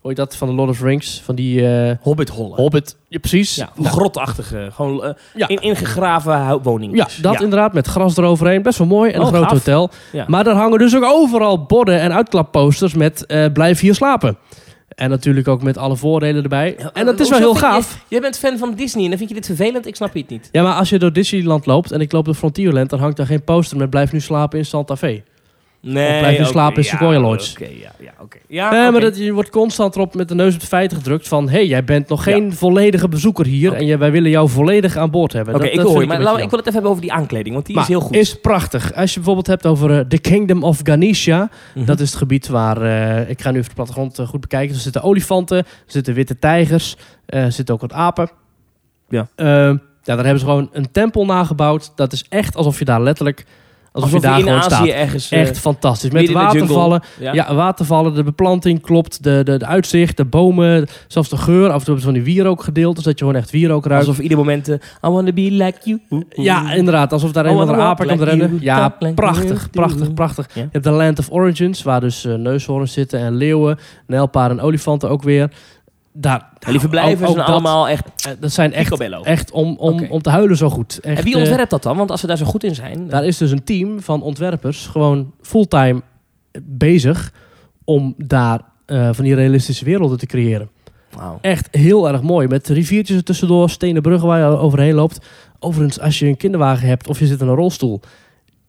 hoor je dat van de Lord of the Rings, van die eh,
Hobbithollen.
Hobbit. Ja, precies.
Ja,
Nou,
grotachtige, gewoon eh,
Ja.
in, ingegraven hou-
Ja,
woningen.
dat inderdaad, met gras eroverheen. Best wel mooi. En een
Oh,
groot
gaaf.
hotel.
Ja.
Maar daar hangen dus ook overal borden en uitklapposters met eh, blijf hier slapen. En natuurlijk ook met alle voordelen erbij. en dat is wel heel gaaf.
eh, Je, jij bent fan van Disney en dan vind je dit vervelend? Ik snap het niet.
Ja, maar als je door Disneyland loopt en ik loop door Frontierland, dan hangt daar geen poster met blijf nu slapen in Santa Fe.
Nee,
Of blijf je
oké,
slapen in
ja,
Sequoia Lodge.
Oké, ja, ja, oké. Ja,
Nee, Eh, maar
Ah, oké.
dat, je wordt constant erop met de neus op de feiten gedrukt van... hé, hey, jij bent nog geen volledige bezoeker hier...
Oké.
en je- wij willen jou volledig aan boord hebben.
Oké,
Dat-
ik
dat
hoor
vind
je, maar
een
laat-
beetje
ik wil het even hebben over die aankleding, want die
Maar
is heel goed.
Is prachtig. Als je bijvoorbeeld hebt over eh, The Kingdom of Ganesha.
Mhm.
Dat is het gebied waar, eh, ik ga nu even de plattegrond eh, goed bekijken. Er zitten olifanten, er zitten witte tijgers, eh, er zitten ook wat apen.
Ja.
Eh, ja, daar hebben ze gewoon een tempel nagebouwd. Dat is echt alsof je daar letterlijk, alsof,
Alsof
je daar
in
gewoon
Azië
staat.
ergens... eh,
Echt fantastisch. Met
midden in de jungle.
watervallen.
ja.
Ja, watervallen, de beplanting klopt, de, de, de uitzicht, de bomen, zelfs de geur. Af en toe hebben ze van die wierook gedeeld, dus dat je gewoon echt wierook ruikt.
Alsof ieder moment... eh, I wanna be like you. Mm-hmm.
Ja, eh, inderdaad. Alsof daar
Oh,
een of
wat
andere
een
apen
walk
komt
like
rennen.
you,
Ja,
talk like
prachtig,
you.
prachtig, prachtig.
Ja.
Je hebt de Land of Origins, waar dus eh, neushoorns zitten en leeuwen, nijlpaarden en olifanten ook weer. Daar,
En die verblijven
ook- ook
zijn
dat,
allemaal echt
eh, dat zijn echt,
picobello.
echt om, om,
Oké.
om te huilen zo goed. Echt,
en wie
eh,
ontwerpt dat dan? Want als ze daar zo goed in zijn...
daar is dus een team van ontwerpers gewoon fulltime bezig om daar eh, van die realistische werelden te creëren.
Wauw.
Echt heel erg mooi. Met riviertjes er tussendoor, stenen bruggen waar je overheen loopt. Overigens, als je een kinderwagen hebt of je zit in een rolstoel...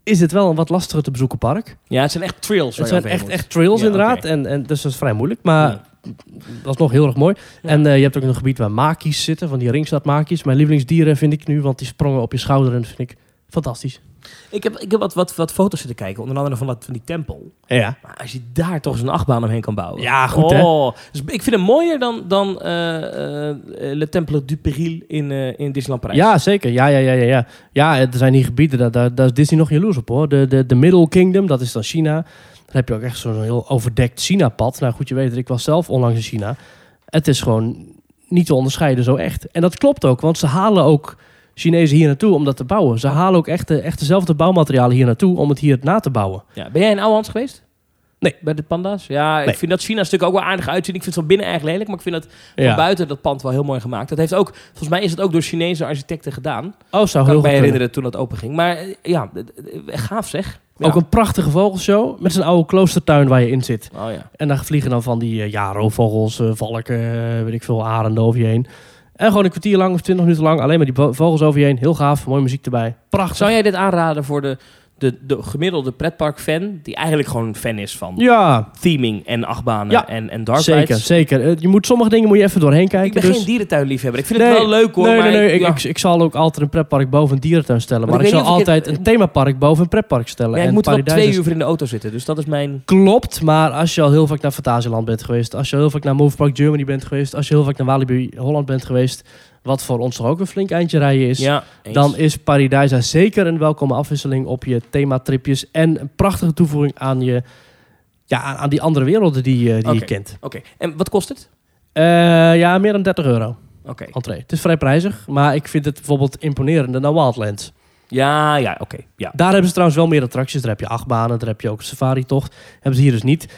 is het wel een wat lastiger te bezoeken park.
Ja, het zijn echt trails. waar
Het
je
zijn
overheen
echt,
moet.
echt trails
Ja,
inderdaad.
oké.
En, en, dus dat is vrij moeilijk. Maar
Ja.
dat is nog heel erg mooi.
Ja.
En eh, je hebt ook een gebied waar makies zitten. Van die ringstaatmakies. Mijn lievelingsdieren vind ik nu. Want die sprongen op je schouder. En dat vind ik fantastisch.
Ik heb, ik heb wat, wat, wat foto's zitten kijken, onder andere van, dat, van die tempel.
Ja.
Maar als je daar toch eens een achtbaan omheen kan bouwen.
Ja, goed, hè?
Oh, dus ik vind hem mooier dan, dan eh, eh, Le Temple du Péril in, eh, in Disneyland Parijs.
Ja, zeker. Ja, ja, ja, ja, ja. ja, er zijn hier gebieden, daar, daar, daar is Disney nog jaloers op hoor. De, de, de Middle Kingdom, dat is dan China. Dan heb je ook echt zo'n heel overdekt China-pad. Nou goed, je weet het, ik was zelf onlangs in China. Het is gewoon niet te onderscheiden zo echt. En dat klopt ook, want ze halen ook Chinezen hier naartoe om dat te bouwen. Ze halen ook echt, de- echt dezelfde bouwmaterialen hier naartoue om het hier na te bouwen.
Ja, Ben jij in Ouwehands geweest?
Nee.
Bij de panda's? Ja,
Nee.
ik vind dat China stuk ook wel aardig uitzien. Ik vind het van binnen eigenlijk lelijk, maar ik vind dat van buiten dat pand wel heel mooi gemaakt. Dat heeft ook, volgens mij is het ook door Chinese architecten gedaan.
Oh, zou
kan
heel
ik
goed
mij
kunnen.
herinneren toen dat open ging. Maar eh, ja, d- d- gaaf zeg. Ja.
Ook een prachtige vogelshow met zijn oude kloostertuin waar je in zit.
Oh ja.
En daar vliegen dan van die eh, ja, roofvogels, eh, valken, eh, weet ik veel, arenden over je heen. En gewoon een kwartier lang of twintig minuten lang alleen maar die vo- vogels over je heen. Heel gaaf, mooie muziek erbij. Prachtig.
Zou jij dit aanraden voor de, de, de gemiddelde pretpark-fan, die eigenlijk gewoon fan is van
Ja,
theming en achtbanen
Ja,
en, en dark
zeker,
rides?
zeker. Eh, je moet, sommige dingen moet je even doorheen kijken.
Ik ben
dus...
geen dierentuinliefhebber. Ik vind
Nee,
het wel leuk hoor.
nee,
maar
nee, nee. Ik,
ja.
ik, ik zal ook altijd een pretpark boven een dierentuin stellen.
Maar
Maar ik,
ik
zal
weet niet of ik
altijd
het-
een themapark boven een pretpark stellen.
Ja, ik
en
moet wel
Paradijs
twee
is-
uur voor in de auto zitten, dus dat is mijn...
Klopt, maar als je al heel vaak naar Fantasieland bent geweest, als je al heel vaak naar Move Park Germany bent geweest, als je heel vaak naar Walibi Holland bent geweest, wat voor ons toch ook een flink eindje rijden is,
Ja, eens.
Dus dan is Paradijsa zeker een welkome afwisseling op je thematripjes en een prachtige toevoeging aan, je, ja, aan, aan die andere werelden die, eh, die je
Oké.
kent.
Oké, en wat kost het?
Eh, ja, meer dan 30 euro
Oké.
entree. Het is vrij prijzig, maar ik vind het bijvoorbeeld imponerender dan Wildlands.
Ja, ja, oké. Ja.
Daar hebben ze trouwens wel meer attracties. Daar heb je achtbanen, daar heb je ook safari-tocht. Hebben ze hier dus niet.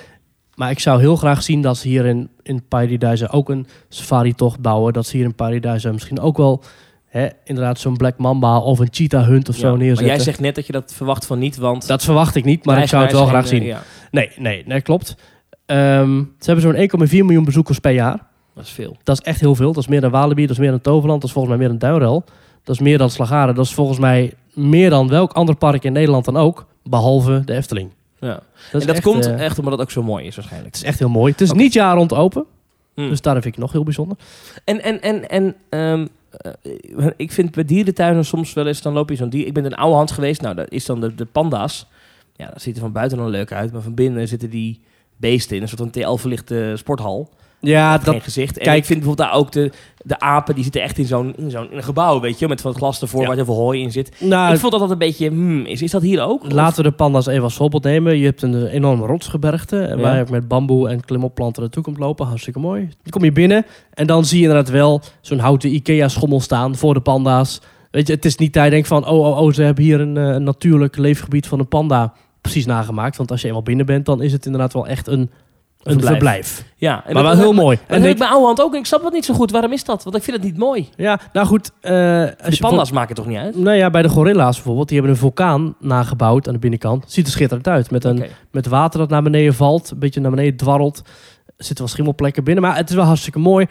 Maar ik zou heel graag zien dat ze hier in, in Paradise ook een safari-tocht bouwen. Dat ze hier in Paradise misschien ook wel hè, inderdaad zo'n Black Mamba of een Cheetah Hunt of
Ja.
zo neerzetten.
Maar jij zegt net dat je dat verwacht van niet, want...
Dat verwacht ik niet, maar ik zou het wel graag
Eigenaars
zien.
en, eh, ja,
Nee, nee, nee, klopt. Ehm, ze hebben zo'n 1,4 miljoen bezoekers per jaar.
dat is veel.
Dat is echt heel veel. Dat is meer dan Walibi, dat is meer dan Toverland, dat is volgens mij meer dan Duinrel. Dat is meer dan Slagaren. Dat is volgens mij meer dan welk ander park in Nederland dan ook, behalve de Efteling.
Ja. Dat
is
en dat
echt,
komt
eh,
echt omdat het ook zo mooi is waarschijnlijk.
Het is echt heel mooi. Het is
Oké.
niet jaar rond open,
Hmm.
dus daar vind ik het nog heel bijzonder.
En, en, en, en ehm, eh, ik vind bij dierentuinen soms wel eens, dan loop je zo'n dier... Ik ben in oude hand geweest, nou, dat is dan de, de panda's. Ja, dat ziet er van buiten dan leuk uit, maar van binnen zitten die beesten in een soort van TL-verlichte sporthal.
Ja,
Of geen gezicht. En
kijk-
ik vind bijvoorbeeld daar ook de, de apen, die zitten echt in zo'n in zo'n in een gebouw, weet je, met van het glas ervoor
Ja.
waar heel veel hooi in zit.
nou,
ik vond dat dat een beetje, hmm, is, is dat hier ook? Of-
Laten we de panda's even als voorbeeld nemen. Je hebt een eh, enorme rotsgebergte eh, waar
Ja.
je ook met bamboe en klimopplanten naartoe komt lopen. Hartstikke mooi. Dan kom je binnen en dan zie je inderdaad wel zo'n houten Ikea-schommel staan voor de panda's. Weet je, het is niet dat je denkt van, oh, oh, oh, ze hebben hier een, eh, een natuurlijk leefgebied van een panda precies nagemaakt. Want als je eenmaal binnen bent, dan is het inderdaad wel echt een, een
Verblijf.
verblijf.
Ja, en
Maar
dat-
wel heel mooi.
En
En
heb ik
dit,
bij oude hand ook. en Ik snap dat niet zo goed. Waarom is dat? Want ik vind het niet mooi.
ja, nou goed. eh, als
De
je voor-
panda's maken het toch niet uit?
Nou ja, bij de gorilla's bijvoorbeeld, die hebben een vulkaan nagebouwd aan de binnenkant. Ziet er schitterend uit. Met een
Oké.
met water dat naar beneden valt, een beetje naar beneden dwarrelt. Er zitten wel schimmelplekken binnen, maar het is wel hartstikke mooi.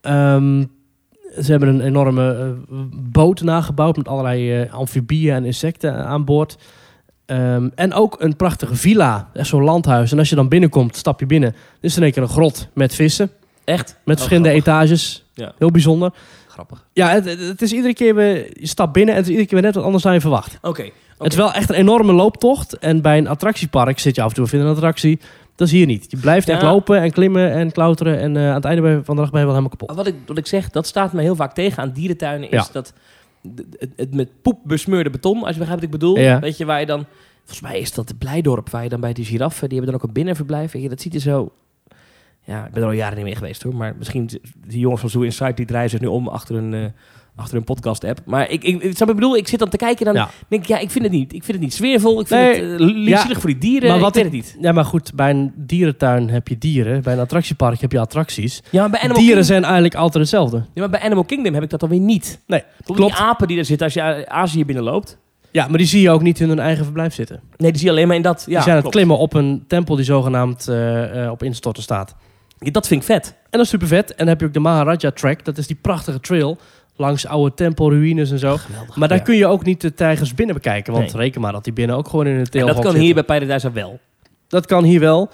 Ehm, ze hebben een enorme eh, boot nagebouwd met allerlei eh amfibieën en insecten aan boord. Ehm, en ook een prachtige villa, echt zo'n landhuis. En als je dan binnenkomt, stap je binnen. Er is in één keer een grot met vissen,
Echt?
met verschillende etages.
Ja.
Heel bijzonder.
Grappig.
Ja, het, het- het is iedere keer weer, je stapt binnen en het is iedere keer weer net wat anders dan je verwacht.
Oké.
Het is wel echt een enorme looptocht. En bij een attractiepark zit je af en toe in een attractie. Dat is hier niet. Je blijft echt
Ja.
lopen en klimmen en klauteren. En eh, aan het einde ben- van de dag ben je wel helemaal kapot.
Wat ik, wat ik zeg, dat staat me heel vaak tegen aan dierentuinen. Is
Ja.
dat d- het, het met poep besmeurde beton, als je begrijpt wat ik bedoel.
Ja.
Weet je, waar je dan... Volgens mij is dat de Blijdorp, waar je dan bij die giraffen... Die hebben dan ook een binnenverblijf. Weet je, dat ziet er zo... Ja, ik ben er al jaren niet mee geweest hoor. Maar misschien z- die jongens van Zoo Insight, die draaien zich nu om achter hun, eh, achter hun podcast-app. Maar ik, ik, snap je, ik bedoel, ik zit dan te kijken en dan
Ja.
denk ik, ja, ik vind het niet. Ik vind het niet sfeervol, ik vind
Nee,
het eh, liefzielig voor die dieren,
maar
maar
wat
wat ik
ik-
weet het niet.
Ja, maar goed. Bij een dierentuin heb je dieren. Bij een attractiepark heb je attracties.
Ja, maar bij Animal
dieren
Kingdom-
zijn eigenlijk altijd hetzelfde.
Ja, maar bij Animal Kingdom heb ik dat dan weer niet.
Nee,
Klopt. Die
klopt.
apen die er zitten als je eh, Azië binnenloopt.
Ja, maar die zie je ook niet in hun eigen verblijf zitten.
Nee, die zie je alleen maar in dat.
die
Ja,
zijn aan het
klopt.
klimmen op een tempel die zogenaamd eh, eh, op instorten staat.
Ja, dat vind ik vet.
En dat is super vet. En dan heb je ook de Maharaja Track. Dat is die prachtige trail langs oude tempelruïnes en zo.
Geweldig.
Maar daar
Ja.
kun je ook niet de tijgers binnen bekijken. Want
Nee.
reken maar dat die binnen ook gewoon in een
En
teelhok
dat kan
zitten.
hier bij Paradise wel. Oké.
Dat kan hier wel.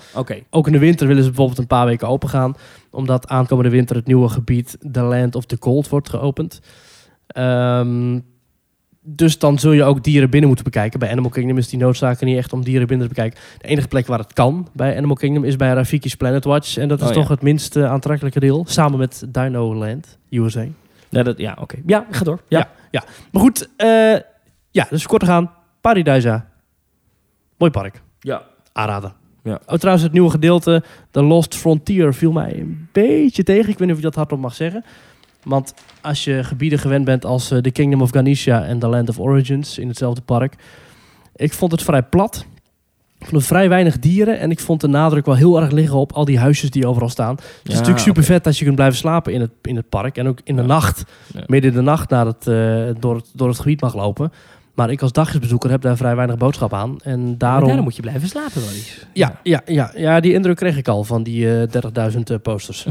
Ook in de winter willen ze bijvoorbeeld een paar weken open gaan. Omdat aankomende winter het nieuwe gebied The Land of the Cold wordt geopend. Ehm, dus dan zul je ook dieren binnen moeten bekijken. Bij Animal Kingdom is die noodzaak er niet echt om dieren binnen te bekijken. De enige plek waar het kan bij Animal Kingdom is bij Rafiki's Planet Watch. En dat is
Oh, ja.
toch het minst eh, aantrekkelijke deel. Samen met Dino Land, USA.
Ja, dat, ja, oké. ja ga door. Ja.
Ja. Maar goed, eh, ja, dus kort gaan. Paradisa. Mooi park.
Ja.
Aanraden.
Ja.
Oh, trouwens, het nieuwe gedeelte, The Lost Frontier, viel mij een beetje tegen. Ik weet niet of je dat hardop mag zeggen. Want als je gebieden gewend bent als eh, The Kingdom of Ganesha en The Land of Origins in hetzelfde park. Ik vond het vrij plat. Ik vond er vrij weinig dieren. En ik vond de nadruk wel heel erg liggen op al die huisjes die overal staan. Het is
Ja,
natuurlijk super vet als je kunt blijven slapen in het, in het park. En ook in de
Ah, Ja.
nacht,
Ja.
midden in de nacht, naar het, eh, door, het, door het gebied mag lopen. Maar ik als dagjesbezoeker heb daar vrij weinig boodschap aan. En
Maar
daarom...
daarom moet je blijven slapen, Maurice.
Ja, ja, ja, ja, die indruk kreeg ik al van die eh, 30.000 eh,
(laughs)
posters.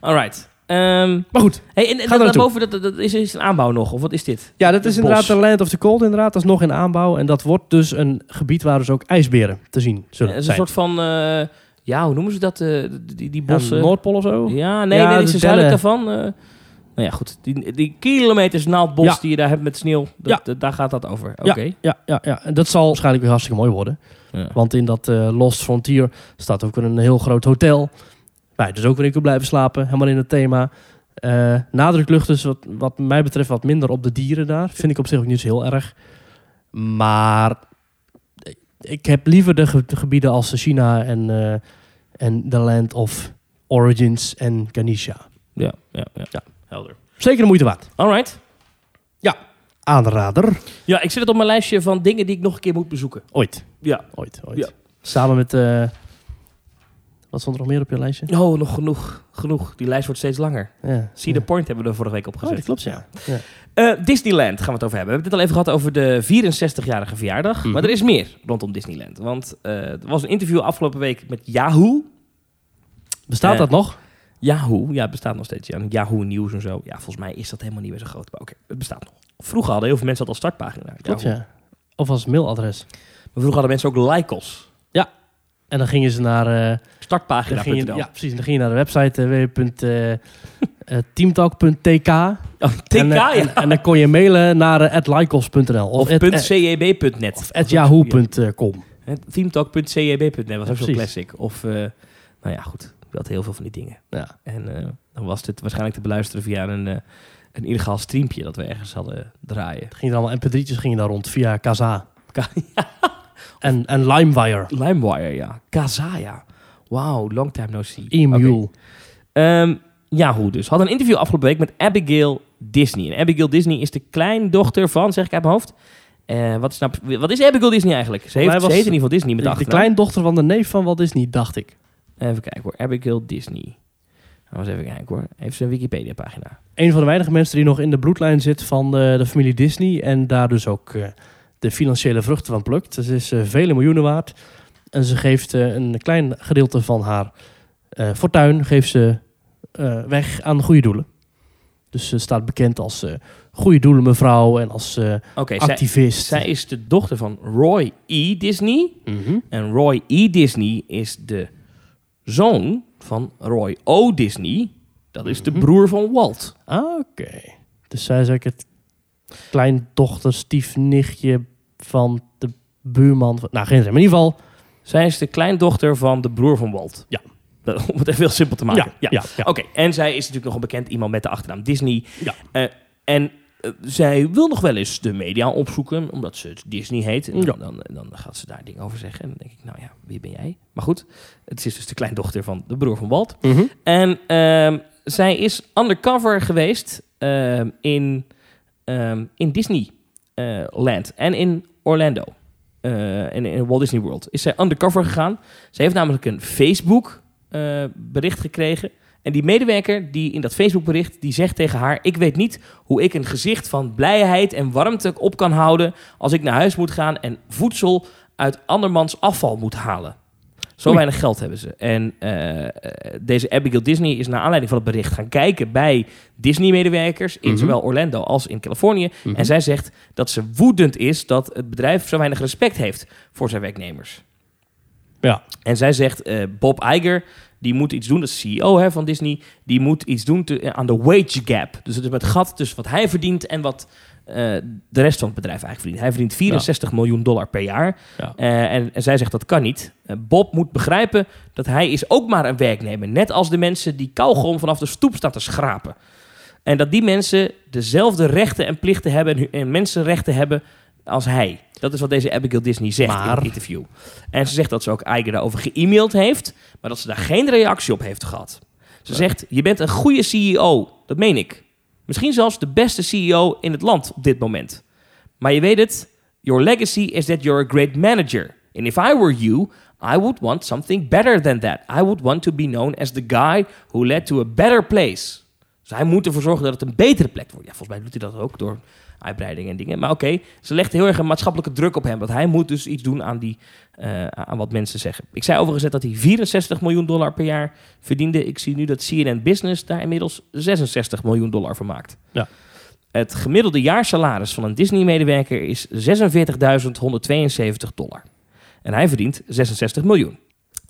Alright. Ehm,
Maar goed,
hey, en, en
daar
dat,
naartoe.
daarboven, dat, dat- dat is, is een aanbouw nog, of wat is dit?
ja, dat is
Het
inderdaad
bos.
de Land of the Cold. Inderdaad, dat is nog in aanbouw. En dat wordt dus een gebied waar dus ook ijsberen te zien zullen
het is een
zijn.
soort van, eh, ja, hoe noemen ze dat? eh, die, die
Ja,
bossen?
Noordpool of zo?
Ja, nee,
Ja,
nee, dit
de
is zuidelijk
Delle.
daarvan. eh, nou ja, goed. Die, die kilometers naaldbos
Ja.
die je daar hebt met sneeuw, dat,
Ja.
dat- daar gaat dat over. Oké.
Ja, ja, ja, ja. En dat zal waarschijnlijk weer hartstikke mooi worden.
Ja.
Want in dat eh, Lost Frontier staat ook weer een heel groot hotel. Waar je dus ook weer in kunt blijven slapen. Helemaal in het thema. Eh nadruk lucht dus wat, wat mij betreft wat minder op de dieren daar. Vind ik op zich ook niet zo heel erg. Maar ik heb liever de, ge- de gebieden als China en, eh en The Land of Origins en Ganesha.
Ja, ja, ja.
Ja.
Helder.
Zeker de moeite waard.
Alright.
Aanrader.
Ja, ik zet het op mijn lijstje van dingen die ik nog een keer moet bezoeken.
Ooit.
Ja.
Ooit, ooit.
Ja.
Samen met... eh, wat stond er nog meer op je lijstje?
Oh, nog genoeg. Genoeg. Die lijst wordt steeds langer.
Ja.
See the point hebben we er vorige week op
Oh,
gezet.
dat klopt, ja. ja.
Eh, Disneyland gaan we het over hebben. We hebben het al even gehad over de 64-jarige verjaardag.
Mhm.
Maar er is meer rondom Disneyland. Want eh, er was een interview afgelopen week met Yahoo.
Bestaat
Eh,
dat nog?
Yahoo, ja, het bestaat nog steeds. Ja. Yahoo Nieuws en zo. Ja, volgens mij is dat helemaal niet meer zo groot. Maar oké, het bestaat nog. Vroeger hadden heel veel mensen dat als startpagina.
Klopt,
Yahoo.
ja. Of als mailadres.
Maar vroeger hadden mensen ook Lycos.
En dan gingen ze naar... eh, dan ging je,
Startpagina.nl.
ja, precies. Dan ging je naar de website eh, www.teamtalk.tk.
Oh, TK,
en, eh,
ja.
en, en dan kon je mailen naar eh, @lycos.nl
Of, E
of, at- eh,
.ceb.net.
of at yahoo.com.
Ja, Teamtalk.ceb.net was ook zo'n
Precies.
classic. Of, eh, nou ja, goed. We hadden heel veel van die dingen.
Ja.
En eh, dan was dit waarschijnlijk te beluisteren via een, eh, een illegaal streampje dat we ergens hadden draaien.
Ging er allemaal mp3'tjes gingen daar rond via
(laughs)
Kazaa.
Ka-
En, en LimeWire.
LimeWire, ja. Kazaya. Wauw, long time no see.
E-mule.
Oké. Ehm, Yahoo dus. Had een interview afgelopen week met Abigail Disney. En Abigail Disney is de kleindochter van, zeg ik uit mijn hoofd. Eh, wat, is nou, wat is Abigail Disney eigenlijk? Ze, heeft,
mij was
ze heet in ieder geval Disney met de
De, de
achternaam.
kleindochter van de neef van Walt Disney, dacht ik.
Even kijken hoor. Abigail Disney. Nou, eens even kijken hoor. Heeft ze een Wikipedia pagina?
Een van de weinige mensen die nog in de bloedlijn zit van eh, de familie Disney. En daar dus ook eh, de financiële vruchten van plukt. Ze is eh, vele miljoenen waard. En ze geeft eh, een klein gedeelte van haar eh, fortuin geeft ze, eh, weg aan goede doelen. Dus ze staat bekend als eh, goede doelen mevrouw en als eh,
Oké, zij,
activist.
zij is de dochter van Roy E. Disney.
Mhm.
En Roy E. Disney is de zoon van Roy O. Disney. Dat is de
Mhm.
broer van Walt.
Ah, Oké. Dus zij is ook het kleindochter, stiefnichtje van de buurman. Van, nou, geen idee. Maar in ieder geval...
Zij is de kleindochter van de broer van Walt.
Ja.
Dat- Om het even heel simpel te maken.
ja.
Oké, en zij is natuurlijk nog een bekend iemand met de achternaam Disney.
Ja.
Eh, en eh, zij wil nog wel eens de media opzoeken, omdat ze het Disney heet. En dan,
Ja.
dan, dan gaat ze daar dingen over zeggen. En dan denk ik, nou ja, wie ben jij? Maar goed, het is dus de kleindochter van de broer van Walt.
Mhm.
En ehm, zij is undercover geweest ehm, in, ehm, in Disneyland en in Orlando. eh, en in Walt Disney World is zij undercover gegaan. Zij heeft namelijk een Facebook eh, bericht gekregen. En die medewerker die in dat Facebook bericht die zegt tegen haar: Ik weet niet hoe ik een gezicht van blijheid en warmte op kan houden. als ik naar huis moet gaan en voedsel uit andermans afval moet halen. Zo weinig geld hebben ze. En eh, eh, deze Abigail Disney is naar aanleiding van het bericht gaan kijken bij Disney-medewerkers in
Mhm.
zowel Orlando als in Californië.
Mhm.
En zij zegt dat ze woedend is dat het bedrijf zo weinig respect heeft voor zijn werknemers.
Ja.
En zij zegt, eh, Bob Iger, die moet iets doen, dat is CEO hè, van Disney, die moet iets doen te- eh, aan de wage gap. Dus het is met gat tussen wat hij verdient en wat eh, de rest van het bedrijf eigenlijk verdient. Hij verdient 64 miljoen dollar per jaar.
Ja.
Eh, en, en zij zegt, dat kan niet. Eh, Bob moet begrijpen dat hij is ook maar een werknemer. Net als de mensen die kauwgom vanaf de stoep staan te schrapen. En dat die mensen dezelfde rechten en plichten hebben en hu- en mensenrechten hebben als hij. Dat is wat deze Abigail Disney zegt in
Maar-
het interview. En ze zegt dat ze ook Iger daarover ge-mailed heeft, maar dat ze daar geen reactie op heeft gehad. Ze zegt, je bent een goede CEO, dat meen ik. Misschien zelfs de beste CEO in het land op dit moment. Maar je weet het, your legacy is that you're a great manager. And if I were you, I would want something better than that. I would want to be known as the guy who led to a better place. Dus hij moet ervoor zorgen dat het een betere plek wordt. Ja, volgens mij doet hij dat ook door uitbreiding en dingen. Maar oké, ze legt heel erg een maatschappelijke druk op hem. Want hij moet dus iets doen aan, die, eh, aan wat mensen zeggen. Ik zei overigens net dat hij 64 miljoen dollar per jaar verdiende. Ik zie nu dat CNN Business daar inmiddels 66 miljoen dollar voor maakt. Het gemiddelde jaarsalaris van een Disney-medewerker is 46.172 dollar. En hij verdient 66 miljoen.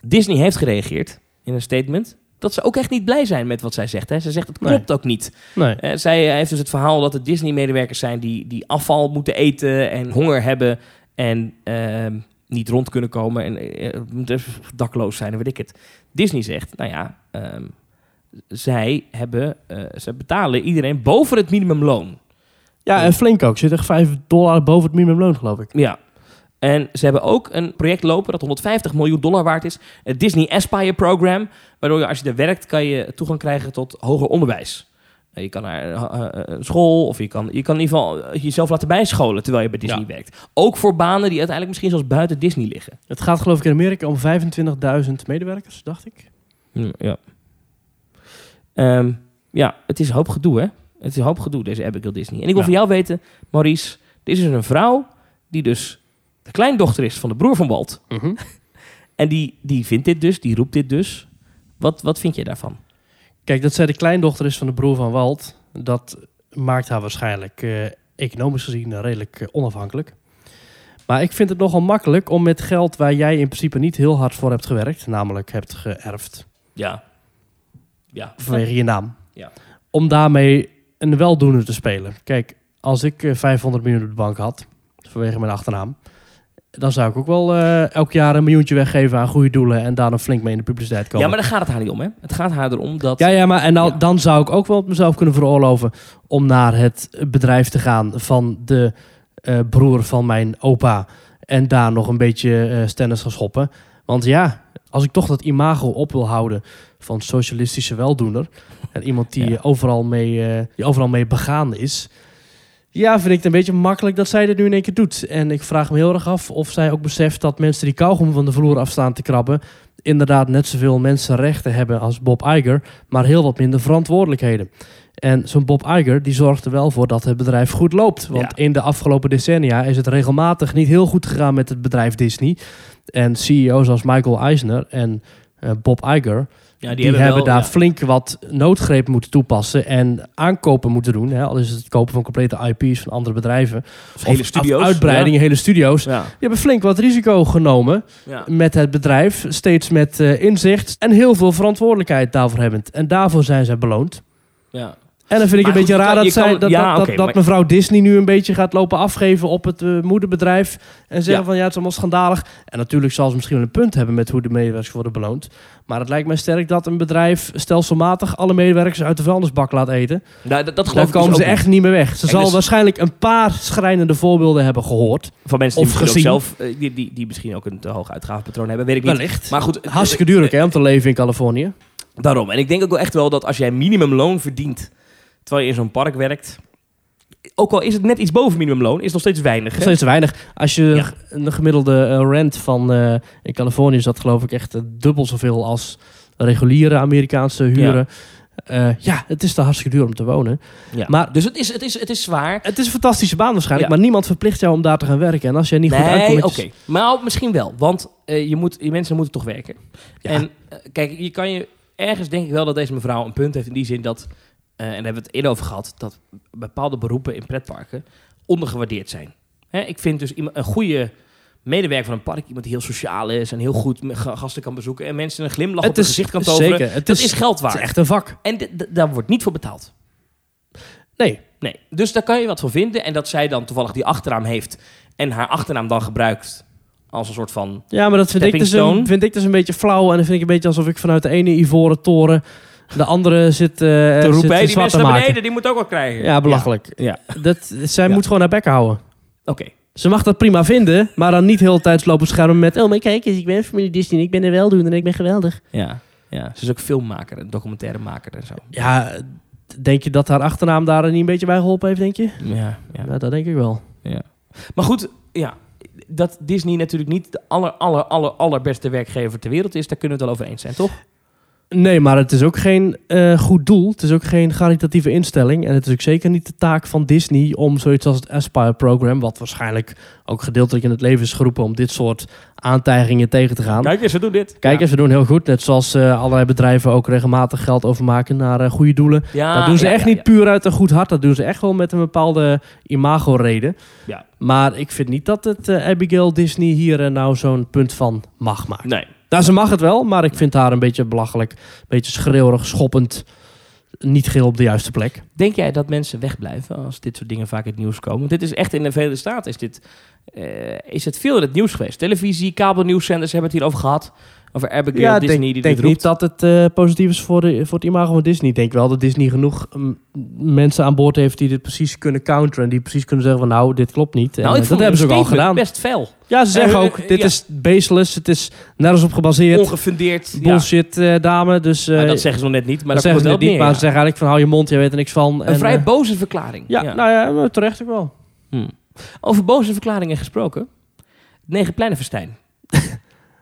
Disney heeft gereageerd in een statement dat ze ook echt niet blij zijn met wat zij zegt. Hè. Ze zegt, het
Nee.
klopt ook niet.
Nee.
Eh, zij heeft dus het verhaal dat er Disney-medewerkers zijn die, die afval moeten eten en honger hebben en ehm, niet rond kunnen komen en eh, eh, dakloos zijn en weet ik het. Disney zegt, nou ja, ehm, zij hebben, eh, ze betalen iedereen boven het minimumloon.
Ja, en flink ook. Zit echt 5 dollar boven het minimumloon, geloof ik.
Ja. En ze hebben ook een project lopen dat 150 miljoen dollar waard is. Het Disney Aspire Program. Waardoor je als je daar werkt, kan je toegang krijgen tot hoger onderwijs. Eh, Je kan naar eh, eh, een school of je kan, je kan in ieder geval eh, jezelf laten bijscholen terwijl je bij Disney
Ja.
werkt. Ook voor banen die uiteindelijk misschien zelfs buiten Disney liggen.
Het gaat geloof ik in Amerika om 25.000 medewerkers, dacht ik.
Ja. Ehm, ja, het is een hoop gedoe, hè? Het is een hoop gedoe, deze Abigail Disney. En ik wil
Ja.
van jou weten, Maurice, dit is dus een vrouw die dus de kleindochter is van de broer van Walt.
Mhm.
En die, die vindt dit dus, die roept dit dus. Wat, wat vind je daarvan?
Kijk, dat zij de kleindochter is van de broer van Walt, dat maakt haar waarschijnlijk eh, economisch gezien eh, redelijk eh, onafhankelijk. Maar ik vind het nogal makkelijk om met geld waar jij in principe niet heel hard voor hebt gewerkt, namelijk hebt geërfd
Ja. Ja.
vanwege je naam,
Ja.
om daarmee een weldoener te spelen. Kijk, als ik eh, 500 miljoen op de bank had, vanwege mijn achternaam, dan zou ik ook wel eh, elk jaar een miljoentje weggeven aan goede doelen en daar dan flink mee in de publiciteit komen.
ja, maar daar gaat het haar niet om, hè? Het gaat haar erom dat...
Ja, ja, maar en dan,
Ja.
dan zou ik ook wel mezelf kunnen veroorloven om naar het bedrijf te gaan van de eh, broer van mijn opa. En daar nog een beetje eh stennis gaan schoppen. Want ja, als ik toch dat imago op wil houden van socialistische weldoener. En iemand die,
Ja.
eh, overal, mee, eh, die overal mee begaan is. Ja, vind ik het een beetje makkelijk dat zij dit nu in één keer doet. En ik vraag me heel erg af of zij ook beseft dat mensen die kauwgom van de vloer afstaan te krabben... inderdaad net zoveel mensenrechten hebben als Bob Iger... maar heel wat minder verantwoordelijkheden. En zo'n Bob Iger die zorgt er wel voor dat het bedrijf goed loopt. Want in de afgelopen decennia is het regelmatig niet heel goed gegaan met het bedrijf Disney. En CEO's als Michael Eisner en eh, Bob Iger
Ja,
die, hebben,
wel-
daar
ja.
flink wat noodgrepen moeten toepassen en aankopen moeten doen. Hè? Al is het het kopen van complete IP's van andere bedrijven.
Of hele
Of
studio's.
uitbreidingen, hele studio's.
Ja. Ja.
Die hebben flink wat risico genomen
Ja.
met het bedrijf. Steeds met eh, inzicht en heel veel verantwoordelijkheid daarvoor hebbend. En daarvoor zijn zij beloond.
Ja.
En dan vind ik
Maar
een beetje
goed,
raar
je
dat,
kan-
zij, dat,
ja,
dat, dat,
oké,
dat
maar-
mevrouw Disney nu een beetje gaat lopen afgeven op het eh, moederbedrijf. En zeggen
Ja.
van ja, het is allemaal schandalig. En natuurlijk zal ze misschien wel een punt hebben met hoe de medewerkers worden beloond. Maar het lijkt mij sterk dat een bedrijf stelselmatig alle medewerkers uit de vuilnisbak laat eten.
Nou, dat, dat geloof
Dan
ik dus
komen ze
ook niet.
echt niet meer weg. Ze
Kijk,
zal
dus-
waarschijnlijk een paar schrijnende voorbeelden hebben gehoord.
Van mensen die
of
misschien ook
gezien.
zelf... eh, die, die, die misschien ook een te hoog uitgavenpatroon hebben, weet ik niet.
Wellicht.
Maar goed, eh,
Hartstikke duur ook hè, om te leven in Californië.
Daarom. En ik denk ook wel echt wel dat als jij minimumloon verdient terwijl je in zo'n park werkt, ook al is het net iets boven minimumloon, is het nog steeds weinig. Hè?
Nog steeds weinig. Als je
Ja.
g- een gemiddelde eh, rent van eh, in Californië is dat geloof ik echt eh, dubbel zoveel als reguliere Amerikaanse huren. Eh, ja, het is te hartstikke duur om te wonen.
Ja.
Maar
Dus het is, het is, het is zwaar.
het is een fantastische baan waarschijnlijk,
Ja.
maar niemand verplicht jou om daar te gaan werken. En als jij niet goed
Nee,
uitkomt...
oké.
met je-
Maar misschien wel, want eh, je, moet, je mensen moeten toch werken.
Ja.
En eh, kijk, je kan je ergens denk ik wel dat deze mevrouw een punt heeft in die zin dat, eh, en daar hebben we het eerder over gehad, dat bepaalde beroepen in pretparken ondergewaardeerd zijn. Hè, ik vind dus iemand, een goede medewerker van een park, iemand die heel sociaal is en heel goed me- ga- gasten kan bezoeken en mensen een glimlach op het gezicht kan toveren.
Zeker, het
Dat
is,
is geld
het is
waard.
echt een vak.
En d- d- daar wordt niet voor betaald.
Nee,
Nee. Dus daar kan je wat van vinden. En dat zij dan toevallig die achternaam heeft en haar achternaam dan gebruikt als een soort van
ja, maar dat vind ik,
Stepping
dus een,
stone.
vind ik dus een beetje flauw. En dat vind ik een beetje alsof ik vanuit de ene ivoren toren de andere zit, eh
te
zit,
roepen. "Hey,
zit
die
zwart
mensen
te
naar
maken.
beneden, die moet ook wat krijgen.
Ja, belachelijk.
Ja.
Dat, zij
Ja.
moet gewoon haar bek houden.
Oké.
Ze mag dat prima vinden, maar dan niet heel de tijd lopen schermen met... Oh, maar kijk eens, ik ben familie Disney en ik ben er weldoende en ik ben geweldig.
Ja. ja. Ze is ook filmmaker en documentairemaker en zo.
Ja, denk je dat haar achternaam daar niet een beetje bij geholpen heeft, denk je?
Ja. ja.
Ja, nou, dat denk ik wel.
Maar goed, ja. Dat Disney natuurlijk niet de aller, aller, aller, allerbeste werkgever ter wereld is, daar kunnen we het wel over eens zijn, toch?
Nee, maar het is ook geen eh, goed doel. Het is ook geen caritatieve instelling. En het is ook zeker niet de taak van Disney om zoiets als het Aspire-program... wat waarschijnlijk ook gedeeltelijk in het leven is geroepen... om dit soort aantijgingen tegen te gaan.
Kijk eens, ze doen dit.
Kijk eens, we doen heel goed. Net zoals eh, allerlei bedrijven ook regelmatig geld overmaken naar eh, goede doelen.
Ja,
dat doen ze
Ah, ja,
echt
ja,
niet puur uit een goed hart. Dat doen ze echt wel met een bepaalde imago-reden.
Ja.
Maar ik vind niet dat het eh, Abigail Disney hier eh, nou zo'n punt van mag maken.
ja. Nee.
Nou, ze mag het wel, maar ik vind haar een beetje belachelijk. Een beetje schreeuwerig, schoppend. Niet geheel op de juiste plek.
Denk jij dat mensen wegblijven als dit soort dingen vaak in het nieuws komen? Want dit is echt in de Verenigde Staten is, dit, eh, is het veel in het nieuws geweest. Televisie, kabelnieuwszenders hebben het hierover gehad. Over Abigail Disney
denk,
die
denk
dit roept.
niet dat het eh, positief is voor, de, voor het imago van Disney. Ik denk wel dat Disney genoeg mm, mensen aan boord heeft die dit precies kunnen counteren. En die precies kunnen zeggen van nou, dit klopt niet. En,
nou, ik
eh,
vond
dat hebben ze ook
hun
al
statement
gedaan.
best fel.
Ja, ze zeggen
Eh,
ook,
eh,
dit
ja.
is baseless. Het is nergens op gebaseerd.
Ongefundeerd. ja.
Bullshit eh, dame. Dus eh,
Nou, dat zeggen ze nog net niet, maar
dat
dat komt
zeggen ze
wel
niet.
neer,
maar
ja.
ze zeggen eigenlijk van hou je mond, je weet er niks van.
Een vrij
eh,
boze verklaring.
ja, nou ja, maar terecht ook wel.
Over boze verklaringen gesproken. Negen Pleinenfestijn.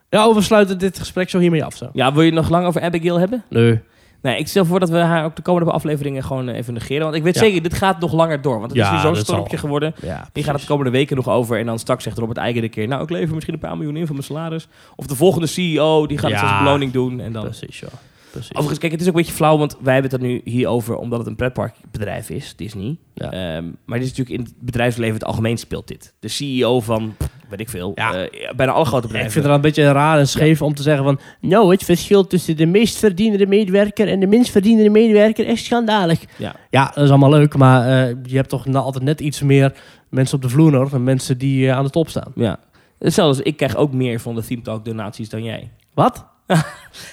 Ja, oh, we sluiten dit gesprek zo hiermee af. Zo.
Ja, wil je het nog lang over Abigail hebben?
Nee.
Nee, ik stel voor dat we haar ook de komende afleveringen gewoon eh, even negeren. Want ik weet
Ja.
zeker, dit gaat nog langer door. Want het
Ja,
is nu zo'n
dat
stormpje
zal.
geworden.
Ja,
Die gaat het de komende weken nog over. En dan straks zegt Robert Eigen de keer... Nou, ik lever misschien een paar miljoen in van mijn salaris. Of de volgende CEO, die gaat het
Ja.
als beloning doen. En dan...
precies. Ja. precies.
Overigens, kijk, het is ook een beetje flauw. Want wij hebben het er nu hier over omdat het een pretparkbedrijf is. Disney.
Ja.
Ehm, maar dit is natuurlijk in het bedrijfsleven in het algemeen speelt dit. De CEO van, pff, weet ik veel,
Ja.
eh, bijna alle grote
Ja,
bedrijven.
ik vind het wel een beetje raar en scheef om te zeggen van... Nou, het verschil tussen de meest verdienende medewerker en de minst verdienende medewerker echt schandalig.
Ja.
ja dat is allemaal leuk, maar eh, je hebt toch na- altijd net iets meer mensen op de vloer nodig dan mensen die eh, aan de top staan.
Ja. Zelfs ik krijg ook meer van de Theme Talk donaties dan jij.
Wat?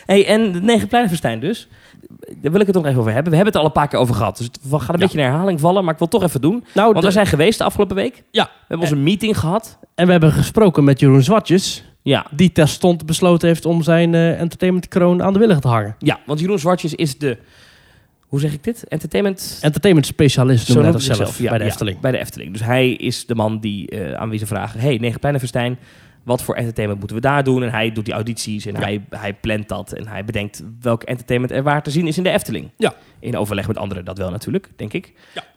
hey, en de Negen Pleinenfestijn dus. Daar wil ik het nog even over hebben. We hebben het al een paar keer over gehad. Dus het gaat een beetje in herhaling vallen, maar ik wil het toch even doen.
Nou,
Want
de-
we zijn geweest de afgelopen week. We
ja.
hebben onze meeting gehad.
En we hebben gesproken met Jeroen Zwartjes,
Ja.
die terstond besloten heeft om zijn eh, entertainmentkroon aan de willig te hangen.
ja, want Jeroen Zwartjes is de... Hoe zeg ik dit? Entertainment...
Entertainment specialist noemen wij
noemt
dat
hij
zelf,
Ja,
bij de
ja,
Efteling.
bij de Efteling. Dus hij is de man die eh aan wie ze vragen... hey, Negen Pleinenfestijn, wat voor entertainment moeten we daar doen? En hij doet die audities en hij, hij plant dat. En hij bedenkt welk entertainment er waar te zien is in de Efteling.
Ja.
In overleg met anderen, dat wel natuurlijk, denk ik.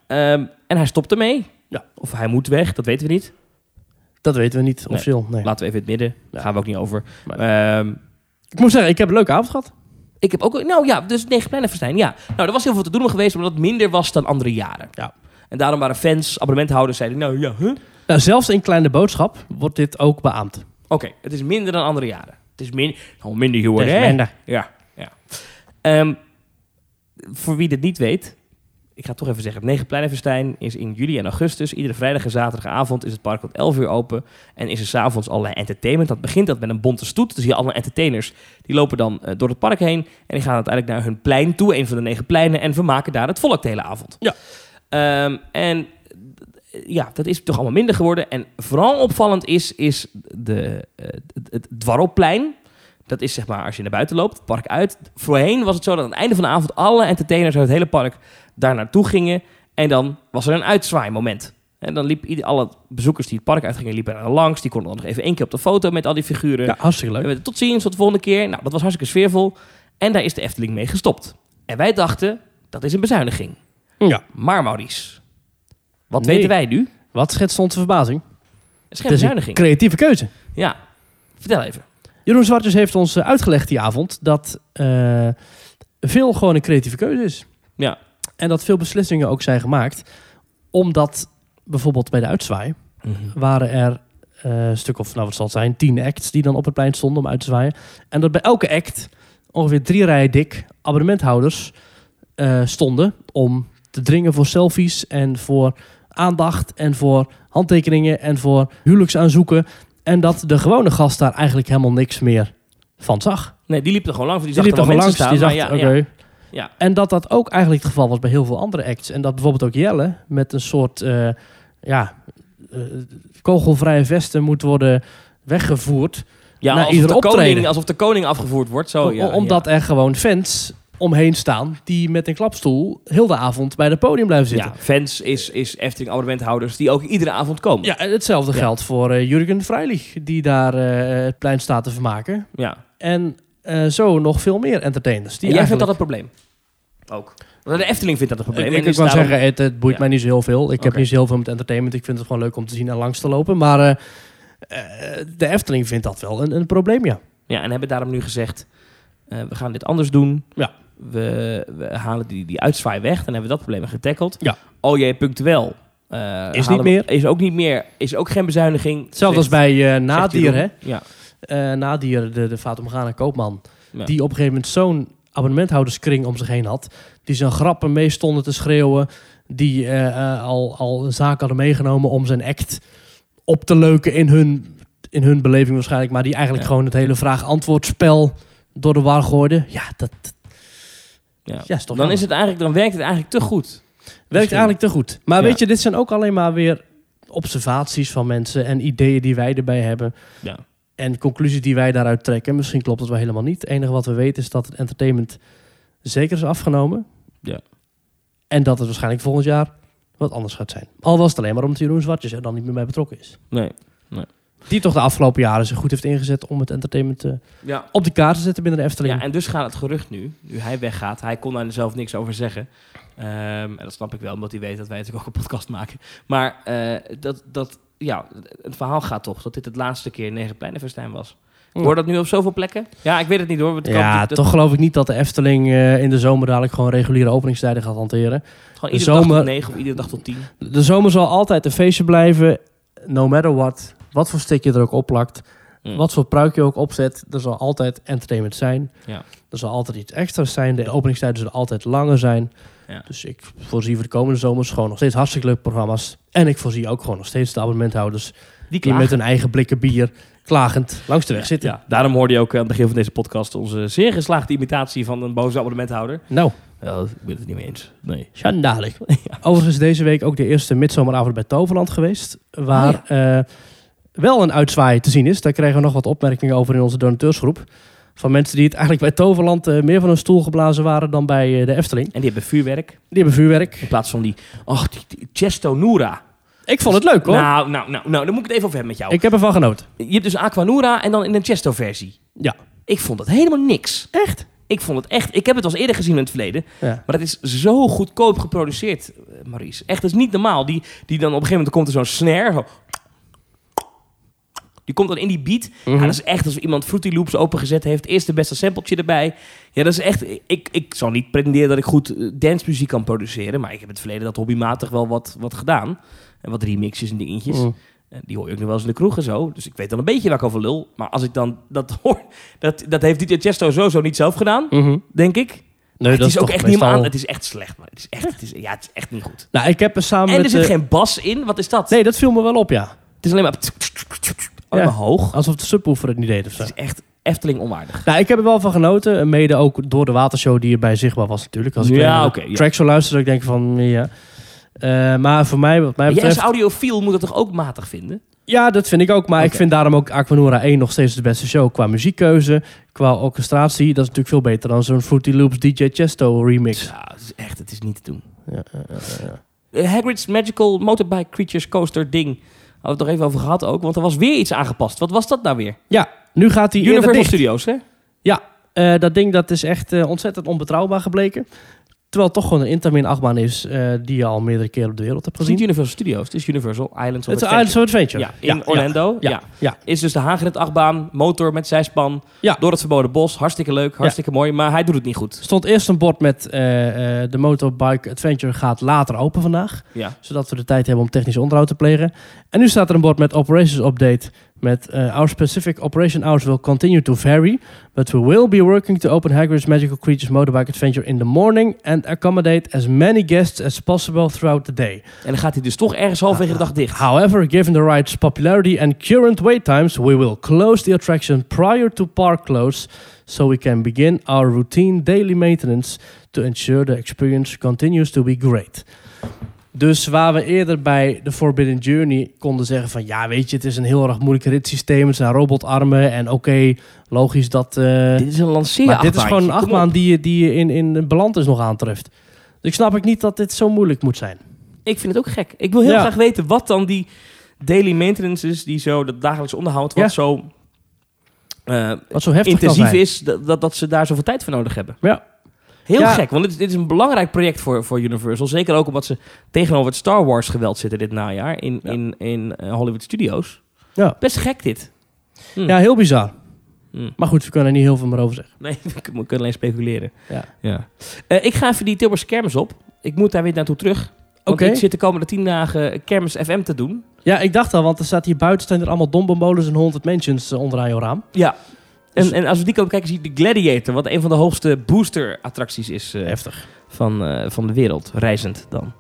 Ehm, en hij stopt ermee.
Ja.
Of hij moet weg, dat weten we niet.
Dat weten we niet officieel, nee.
Laten we even in het midden. Daar gaan we ook niet over.
Maar-
Ehm,
Ik moet zeggen, ik heb een leuke avond gehad.
ik heb ook... Nou ja, dus negen plannen verstijn. Ja. Nou, er was heel veel te doen geweest, omdat het minder was dan andere jaren.
Ja.
En daarom waren fans, abonnementhouders, zeiden... Nou ja, huh?
Nou, zelfs in Kleine Boodschap wordt dit ook beaamd.
Oké, het is minder dan andere jaren. Het is min, nou, minder geworden.
Het is
hè?
minder.
Ja, ja. Ehm, voor wie dit niet weet, ik ga het toch even zeggen. Het Negenpleinenfestijn is in juli en augustus. Iedere vrijdag en zaterdagavond is het park tot 11 uur open. En is er s'avonds allerlei entertainment. Dat begint dat met een bonte stoet. Dus hier allerlei entertainers. Die lopen dan eh, door het park heen. En die gaan uiteindelijk naar hun plein toe. Een van de negen pleinen. En vermaken daar het volk de hele avond.
Ja.
Ehm, en ja, dat is toch allemaal minder geworden. En vooral opvallend is, is de, eh, het, het dwarrelplein. Dat is zeg maar als je naar buiten loopt, het park uit. Voorheen was het zo dat aan het einde van de avond alle entertainers uit het hele park daar naartoe gingen. En dan was er een uitzwaaimoment. En dan liepen ieder, alle bezoekers die het park uitgingen, liepen er langs. Die konden dan nog even één keer op de foto met al die figuren.
Ja, hartstikke leuk.
We hebben het tot ziens, tot de volgende keer. Nou, dat was hartstikke sfeervol. En daar is de Efteling mee gestopt. En wij dachten, dat is een bezuiniging.
Ja.
Maar Maurice, wat
Nee.
weten wij nu? Het
Wat schetst onze verbazing?
is geen
Het is een
bezuiniging.
creatieve keuze.
Ja, vertel even.
Jeroen Zwartjes heeft ons eh, uitgelegd die avond dat eh, veel gewoon een creatieve keuze is.
Ja.
En dat veel beslissingen ook zijn gemaakt. Omdat bijvoorbeeld bij de uitzwaai waren er eh, een stuk of, nou wat zal het zijn, tien acts die dan op het plein stonden om uit te zwaaien. En dat bij elke act ongeveer drie rijen dik abonnementhouders eh, stonden om te dringen voor selfies en voor aandacht en voor handtekeningen en voor huwelijksaanzoeken. En dat de gewone gast daar eigenlijk helemaal niks meer van zag.
Nee, die liep er gewoon langs. want
Die
Die,
liep
zag
toch
er wel
al langs,
mensen staan.
die dacht,
maar
oké.
ja, ja. Ja.
En dat dat ook eigenlijk het geval was bij heel veel andere acts. En dat bijvoorbeeld ook Jelle met een soort eh, ja, eh, kogelvrije vesten moet worden weggevoerd.
Ja,
Nou,
alsof,
ieder
de koning,
optreden.
alsof de koning afgevoerd wordt. Zo, Oh, ja,
O- omdat er gewoon fans omheen staan die met een klapstoel heel de avond bij het podium blijven
ja.
zitten.
Ja, fans is, is Efteling abonnementhouders die ook iedere avond komen.
Ja, en hetzelfde
Ja.
geldt voor eh, Jurgen Freilich, die daar eh, het plein staat te vermaken.
Ja.
En eh, zo nog veel meer entertainers. Die
En jij vindt dat
eigenlijk-
een probleem? Ook. Want De Efteling vindt dat een probleem.
Ik, ik,
En is
wou
daarom-
zeggen, het, het boeit
Ja.
mij niet zo heel veel. Ik heb
Oké.
niet zo heel veel met entertainment. Ik vind het gewoon leuk om te zien en langs te lopen. Maar eh, eh, de Efteling vindt dat wel een, een probleem, ja.
Ja, en hebben daarom nu gezegd, eh, we gaan dit anders doen.
Ja.
We, we halen die, die uitzwaai weg, dan hebben we dat probleem getackled.
Ja.
Oh jee, punctueel. eh,
Is
halen
niet
we- Is ook niet meer. Is ook geen bezuiniging.
Hetzelfde als
zegt-
bij eh,
zegt
Nadier,
Jeroen.
hè.
Ja.
eh Nadier, de, de Fata Morgana koopman...
Ja.
die op een gegeven moment zo'n abonnementhouderskring om zich heen had... die zijn grappen mee stonden te schreeuwen... die eh, eh, al, al zaken hadden meegenomen om zijn act op te leuken in hun, in hun beleving waarschijnlijk... maar die eigenlijk
Ja.
gewoon het hele vraag-antwoordspel door de war gooiden. Ja, dat
Ja.
ja, is toch
dan,
jammer.
is het eigenlijk, dan werkt het eigenlijk te goed.
werkt
Misschien.
eigenlijk te goed. Maar
Ja.
weet je, dit zijn ook alleen maar weer observaties van mensen... en ideeën die wij erbij hebben...
Ja.
En conclusies die wij daaruit trekken, misschien klopt het wel helemaal niet. Het enige wat we weten is dat het entertainment zeker is afgenomen.
Ja.
En dat het waarschijnlijk volgend jaar wat anders gaat zijn. Al was het alleen maar omdat Jeroen Zwartjes er dan niet meer bij betrokken is.
Nee.
Die toch de afgelopen jaren zich goed heeft ingezet om het entertainment eh,
Ja.
op de kaart te zetten binnen de Efteling.
ja. En dus gaat het gerucht nu, nu hij weggaat. Hij kon daar zelf niks over zeggen. Ehm, en dat snap ik wel, omdat hij weet dat wij natuurlijk ook een podcast maken. Maar eh, dat, dat, ja, het verhaal gaat toch dat dit het laatste keer Negenpleinenfestijn was.
Ja.
Hoor dat nu op zoveel plekken? Ja, ik weet het niet hoor. want het kan
Ja,
natuurlijk-
toch geloof ik niet dat de Efteling eh, in de zomer dadelijk gewoon reguliere openingstijden gaat hanteren.
Gewoon
De
iedere dag
zomer-
tot 9 of iedere dag tot 10.
De zomer zal altijd een feestje blijven, no matter what. Wat voor stick je er ook opplakt,
Mm.
wat voor pruik je ook opzet, er zal altijd entertainment zijn.
Ja.
Er zal altijd iets extra's zijn. De openingstijden zullen altijd langer zijn.
Ja.
Dus ik voorzie voor de komende zomers gewoon nog steeds hartstikke leuke programma's. En ik voorzie ook gewoon nog steeds de abonnementhouders
Die
die met hun eigen blikken bier klagend langs de weg zitten.
Ja, daarom hoorde je ook aan het begin van deze podcast onze zeer geslaagde imitatie van een boze abonnementhouder.
Nou,
Nou, ik ben het niet mee eens. Nee. (laughs)
schandalig. Overigens deze week ook de eerste midzomeravond bij Toverland geweest. Waar
Oh
eh, wel een uitzwaai te zien is. Daar kregen we nog wat opmerkingen over in onze donateursgroep. Van mensen die het eigenlijk bij Toverland eh, meer van hun stoel geblazen waren dan bij eh, de Efteling.
En die hebben vuurwerk
Die hebben vuurwerk.
in plaats van die, ach, die, die Chesto Noura.
Ik vond het leuk hoor.
Nou, nou, nou, nou, dan moet ik het even over hebben met jou.
Ik heb ervan genoten.
Je hebt dus Aquanura en dan in een Chesto versie.
Ja.
Ik vond het helemaal niks.
Echt?
Ik vond het echt, ik heb het al eens eerder gezien in het verleden,
Ja.
Maar dat is zo goedkoop geproduceerd, eh, Maurice. Echt, dat is niet normaal. Die, die dan op een gegeven moment komt er zo'n snare. Zo, die komt dan in die beat. Ja, dat is echt alsof iemand Fruity Loops opengezet heeft. Eerst de beste sampletje erbij. Ja, dat is echt... Ik, ik zal niet pretenderen dat ik goed eh, dancemuziek kan produceren. Maar ik heb in het verleden dat hobbymatig wel wat, wat gedaan. En wat remixes en dingetjes.
Mm.
En Die hoor je ook nog wel eens in de kroeg en zo. Dus ik weet dan een beetje waar ik over lul. Maar als ik dan dat (laughs) hoor... Dat, dat heeft DJ Chesto sowieso niet zelf gedaan,
Mhm.
denk ik.
Nee,
het Mhm. is, ook echt niet meer aan.
aan.
Het is echt slecht, man. Het is echt, het is, ja, het is echt niet goed.
Nou, ik heb er samen
en
met...
er zit
eh,
geen bas in. Wat is dat?
Nee, dat viel me wel op, ja.
Het is alleen maar... Allemaal hoog.
Alsof de subwoofer het niet deed of zo.
Het is echt Efteling onwaardig.
Nou, ik heb er wel van genoten. En Mede ook door de watershow die erbij zichtbaar was natuurlijk. Als ik
Ja,
naar de
oké, ja.
track zou luisteren, dan denk ik van... Ja. Eh, maar voor mij, wat mij
Maar jij als
betreft...
audiofiel moet dat toch ook matig vinden?
Ja, dat vind ik ook. Maar ik
Oké.
vind daarom ook Aquanura 1 nog steeds de beste show. Qua muziekkeuze, qua orchestratie. Dat is natuurlijk veel beter dan zo'n Fruity Loops DJ Chesto remix.
Ja, het is echt, het is niet te doen.
Ja, ja, ja, ja.
Eh, Hagrid's Magical Motorbike Creatures Coaster ding. Hadden we het nog even over gehad ook. Want er was weer iets aangepast. Wat was dat nou weer?
Ja, nu gaat hij eerder
Universal
dicht.
Studios, hè?
Ja, Eh, dat ding dat is echt eh, ontzettend onbetrouwbaar gebleken. Terwijl het toch gewoon een Intamin achtbaan is eh, die je al meerdere keren op de wereld hebt
Het is niet
gezien.
Universal Studios, het is Universal Islands of
Het is een
Adventure.
Islands of Adventure.
Ja, in Orlando. Ja.
Ja, ja.
Is dus de Hagrid-achtbaan, motor met zijspan,
Ja.
door het verboden bos. Hartstikke leuk, hartstikke mooi, maar hij doet het niet goed.
Er stond eerst een bord met eh, eh, de Motorbike Adventure gaat later open vandaag.
Ja.
Zodat we de tijd hebben om technisch onderhoud te plegen. En nu staat er een bord met Operations Update. Met eh, Our specific operation hours will continue to vary. But we will be working to open Hagrid's Magical Creatures Motorbike Adventure in the morning. And accommodate as many guests as possible throughout the day.
En dan gaat hij dus toch ergens halverwege de dag dicht.
However, given the ride's popularity and current wait times, we will close the attraction prior to park close so we can begin our routine daily maintenance to ensure the experience continues to be great. Dus waar we eerder bij de Forbidden Journey konden zeggen van... ja, weet je, het is een heel erg moeilijk ritssysteem. Het zijn robotarmen en oké, logisch dat... eh,
Dit is een
maar
lanceerachtbaan.
dit is gewoon een achtbaan die je, die je in, in Beland nog aantreft. Dus ik snap ik niet dat dit zo moeilijk moet zijn.
Ik vind het ook gek. Ik wil heel
Ja.
graag weten wat dan die daily maintenance is, die zo dat dagelijks onderhoud, wat
Ja.
zo eh,
Wat zo heftig kan
intensief
zijn.
is, dat, dat, dat ze daar zoveel tijd voor nodig hebben.
Ja.
Heel
Ja.
gek, want dit, is- dit is een belangrijk project voor, voor Universal. Zeker ook omdat ze tegenover het Star Wars geweld zitten dit najaar in,
Ja.
in, in eh, Hollywood Studios.
Ja.
Best gek dit. Hm.
Ja, heel bizar.
Hm.
Maar goed, we kunnen er niet heel veel meer over zeggen.
(laughs) Nee, we kun- we kunnen alleen speculeren.
Ja.
Ja. Eh, ik ga even die Tilburgse kermis op. Ik moet daar weer naartoe terug. Want
Oké.
ik zit de komende tien dagen kermis FM te doen.
Ja, ik dacht al, want er staat hier buiten staan er allemaal dombomolens en 100 mansions eh, onder aan jouw raam.
Ja.
Dus-
En, en als we die kant kijken, zie je de Gladiator, wat een van de hoogste booster-attracties is eh,
Heftig.
van, eh, van de wereld. Reizend dan.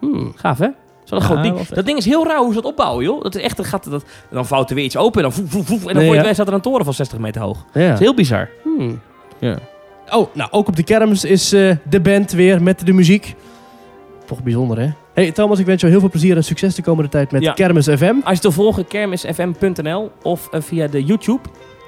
Hmm.
Gaaf, hè? Zo'n
Ja,
groot
wel
ding.
vet.
Dat ding is heel raar hoe ze dat opbouwen, joh. Dat is echt, dan gaat dat, en dan vouwt er weer iets open en dan voef, voef, voef, en dan
Nee,
voor je
ja.
het weer staat er een toren van 60 meter hoog. Dat
Ja.
is heel bizar.
Hmm.
Ja.
Oh, nou, ook op de kermis is eh, de band weer met de muziek. Toch bijzonder, hè? Hey Thomas, ik wens jou heel veel plezier en succes de komende tijd met
Ja.
Kermis FM.
Als je het wil volgen, kermisfm.nl of eh, via de YouTube.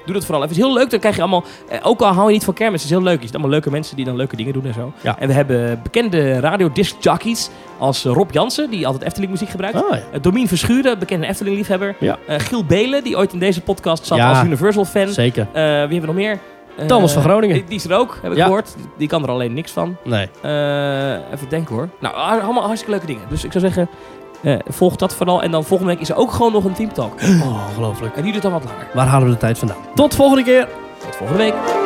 Doe dat vooral even. Het is heel leuk. Dan krijg je allemaal... eh, ook al hou je niet van kermis, het is heel leuk. Je ziet allemaal leuke mensen die dan leuke dingen doen en zo.
Ja.
En we hebben bekende radiodiscjockeys als eh, Rob Jansen, die altijd Efteling muziek gebruikt.
Ah, ja.
Eh, Domien Verschuren, bekende Efteling-liefhebber.
Ja.
Eh, Giel Belen, die ooit in deze podcast zat
Ja.
als Universal-fan. Eh
Zeker.
wie hebben we nog meer? Eh,
Thomas van Groningen.
Die, die is er ook, heb ik
Ja.
gehoord. Die, die kan er alleen niks van.
Nee.
Eh, even denken hoor. Nou, a- allemaal hartstikke leuke dingen. Dus ik zou zeggen, eh, volg dat vooral. En dan volgende week is er ook gewoon nog een teamtalk.
Oh, ongelooflijk.
En die duurt dan wat langer.
Waar halen we de tijd vandaan? Tot volgende keer!
Tot volgende week.